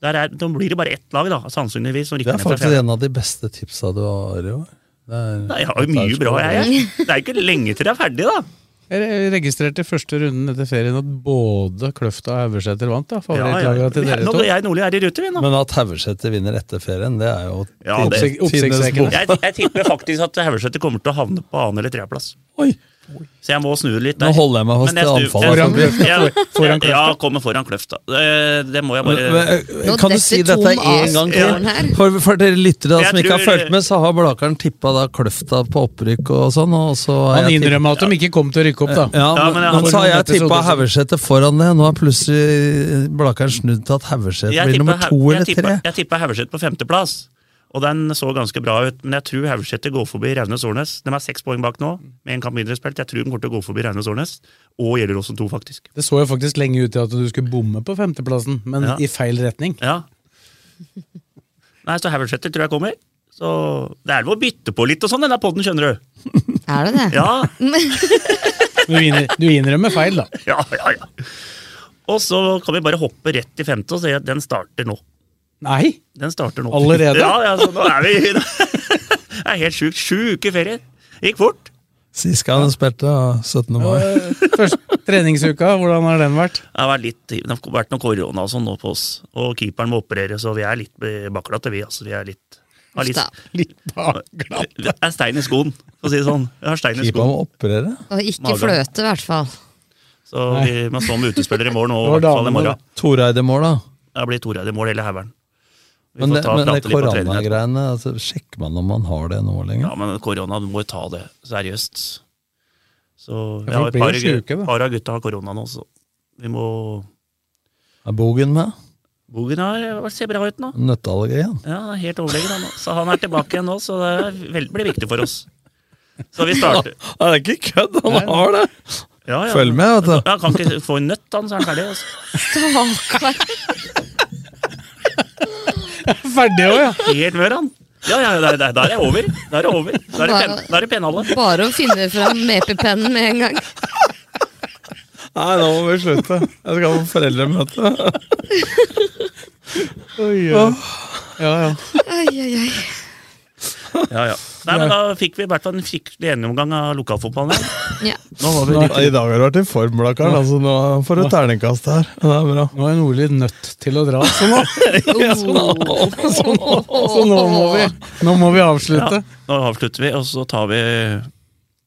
Der er, da blir det bare ett lag, da, sannsynligvis. som rykker
Det er
ned fra
faktisk
fjerde.
en av de beste tipsa du har i år. Det er-
Nei, jeg har jo mye bra, jeg. jeg. Det er jo ikke lenge til det er ferdig, da.
Jeg re- registrerte i første runden etter ferien at både Kløfta og Haugesæter vant. da,
Ja,
favorittlaga
ja.
til
Jeg,
dere
nå,
to.
jeg og Nordli er i rute, vi nå.
Men at Haugesæter vinner etter ferien, det er jo
Ja, det-
tidenes-
Oppsiktsvekkende.
tidenes-
Jeg, jeg tipper faktisk at Haugesæter kommer til å havne på annen- eller tredjeplass.
Oi,
Så jeg må snu det litt
Nå
der.
holder jeg meg fast
Men jeg
til anfallet.
snur-
Foran Kløfta,
Ja,
foran Kløfta.
Ja, kommer foran Kløfta. Det, det må jeg bare
Men,
Nå
Kan du si
detter
dette
Tom
en gang
Asbjørn
til?
her.
For, for dere lyttere da,
Jeg
som ikke har
tror-
fulgt med, så har Blakeren tippa da Kløfta på opprykk og sånn. Og så har
Han
jeg tippet-
innrømmer at de ikke kom til å rykke opp, da.
Ja,
Ja,
men,
men jeg-
men så har jeg
Episode
tippa
som-
Haugesæter foran det. Nå har plutselig Blakeren snudd til at Haugesæter
Jeg
blir
tippa
nummer
Hau-
to
jeg
eller
tippa-
tre.
Jeg tippa Haugesæter på femteplass, og den så ganske bra ut. Men jeg tror Haugesæter går forbi Raunes Årnes. De er seks poeng bak nå, med en kamp mindre spilt. Jeg tror de kommer til å gå forbi Raunes Årnes, og Gjelleråsen 2, faktisk.
Det så jo faktisk lenge ut til at du skulle bomme på femteplassen, men
Ja.
i feil retning.
Ja. Nei, så Haugesæter tror jeg kommer. Så det er lov å bytte på litt og sånn, denne podden, skjønner du.
Er det det?
Ja.
Du, innr du innrømmer feil, da.
Ja, ja, ja. Og så kan vi bare hoppe rett i femte og si at den starter nå.
Nei!
Den starter nå.
Allerede?
Ja, ja, så nå er vi Det er helt sjukt. Sju uker ferie. Gikk fort.
Sist gang han spilte, ja, 17. mai.
Første treningsuka, hvordan har den vært?
Det har vært, litt, det har vært noe korona og sånn nå på oss, og keeperen må operere, så vi er litt baklate, vi. altså. Vi er litt har litt,
Uff da.
Det er stein i skoen, for å si det sånn. Jeg har stein i
Keeper
skoen.
må operere.
Og ikke
Magen.
fløte, i hvert fall.
Så vi må stå med utespillere i morgen, og i
Det var
hvert fall i
damene,
morgen.
da. Toreid i mål, da.
Da blir Toreid i mål, hele haugen. Vi
Men
får
det,
ta og
men det
prate litt på trening etterpå.
koronagreiene, altså, sjekker man om man har det nå lenger?
Ja, men korona, du må jo ta det seriøst. Så vi
Ja,
har
folk
et
blir
par,
jo
syke,
syke, da.
par av gutta har korona nå, så vi må
Er Bogen med?
Bogen har, ser bra ut nå.
Nøtteallergien?
Ja, han er helt overlegen, han nå. Så han er tilbake igjen nå, så det er vel- blir viktig for oss. Så vi starter.
Ja, det er ikke kødd, han har det!
Ja, ja.
Følg med, vet du.
Ja, kan ikke få en nøtt, han, så er han ferdig. Altså.
Stakkar.
Ferdig òg, ja!
Helt mør, han. Ja, ja, der, der, der er det over. Der er det over. Der er, pen, der er penhallet.
Bare å finne fram mepepennen med en gang.
Nei, nå må vi slutte. Jeg skal på foreldremøte.
Ja, ja.
Ai, ai, ai.
Ja, ja. Nei, men da fikk vi i hvert fall en skikkelig gjennomgang av lokalfotballen. her.
Ja.
Nå var vi
Nå, I dag har du vært i form, Blakkaren. Altså, nå får du terningkast her. Ja, Det er bra.
Nå er Nordli nødt til å dra, så nå, så nå må vi, nå må vi avslutte.
Nå avslutter vi, og så tar vi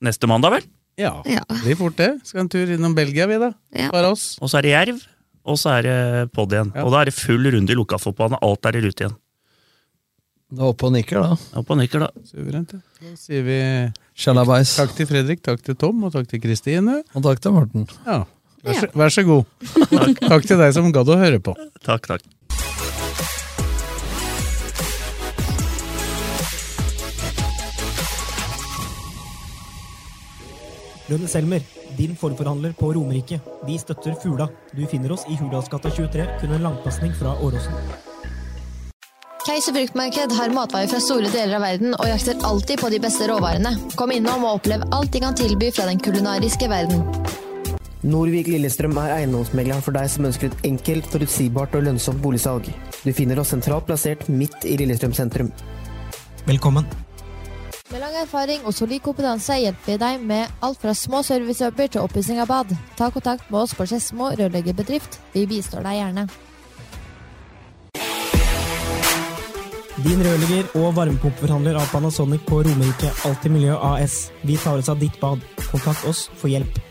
neste mandag, vel?
Ja,
Ja.
det blir fort det. Skal en tur innom Belgia, vi da.
Ja.
Bare oss.
Og så er det Jerv, og så er det Podd igjen.
Ja.
Og da er det full runde i lokalfotballen, og alt er i rute igjen.
Du er oppe og nikker, da.
Opp og nikker, da.
Suverent. ja. Da sier vi
Sjalabais.
takk til Fredrik, takk til Tom og takk til Kristine.
Og takk til Morten.
Ja. Vær, så, vær så god. Takk til deg som gadd å høre på.
Takk, takk.
Lønne Selmer, din forforhandler på Romerike. Vi støtter Fula. Du finner oss i Hurdalsgata 23, kun en langpasning fra Åråsen.
Keiser fruktmarked har matvarer fra store deler av verden og jakter alltid på de beste råvarene. Kom innom og opplev alt de kan tilby fra den kulinariske verden.
Norvik Lillestrøm er eiendomsmegleren for deg som ønsker et enkelt, forutsigbart og lønnsomt boligsalg. Du finner oss sentralt plassert midt i Lillestrøm sentrum.
Velkommen.
Med lang erfaring og solid kompetanse hjelper vi deg med alt fra små servicejobber til oppussing av bad. Ta kontakt med oss på Skedsmo rørleggerbedrift. Vi bistår deg gjerne.
Din rørlegger og varmepumpeforhandler av Panasonic på Romerike Alltid Miljø AS. Vi tar oss av ditt bad. Kontakt oss for hjelp.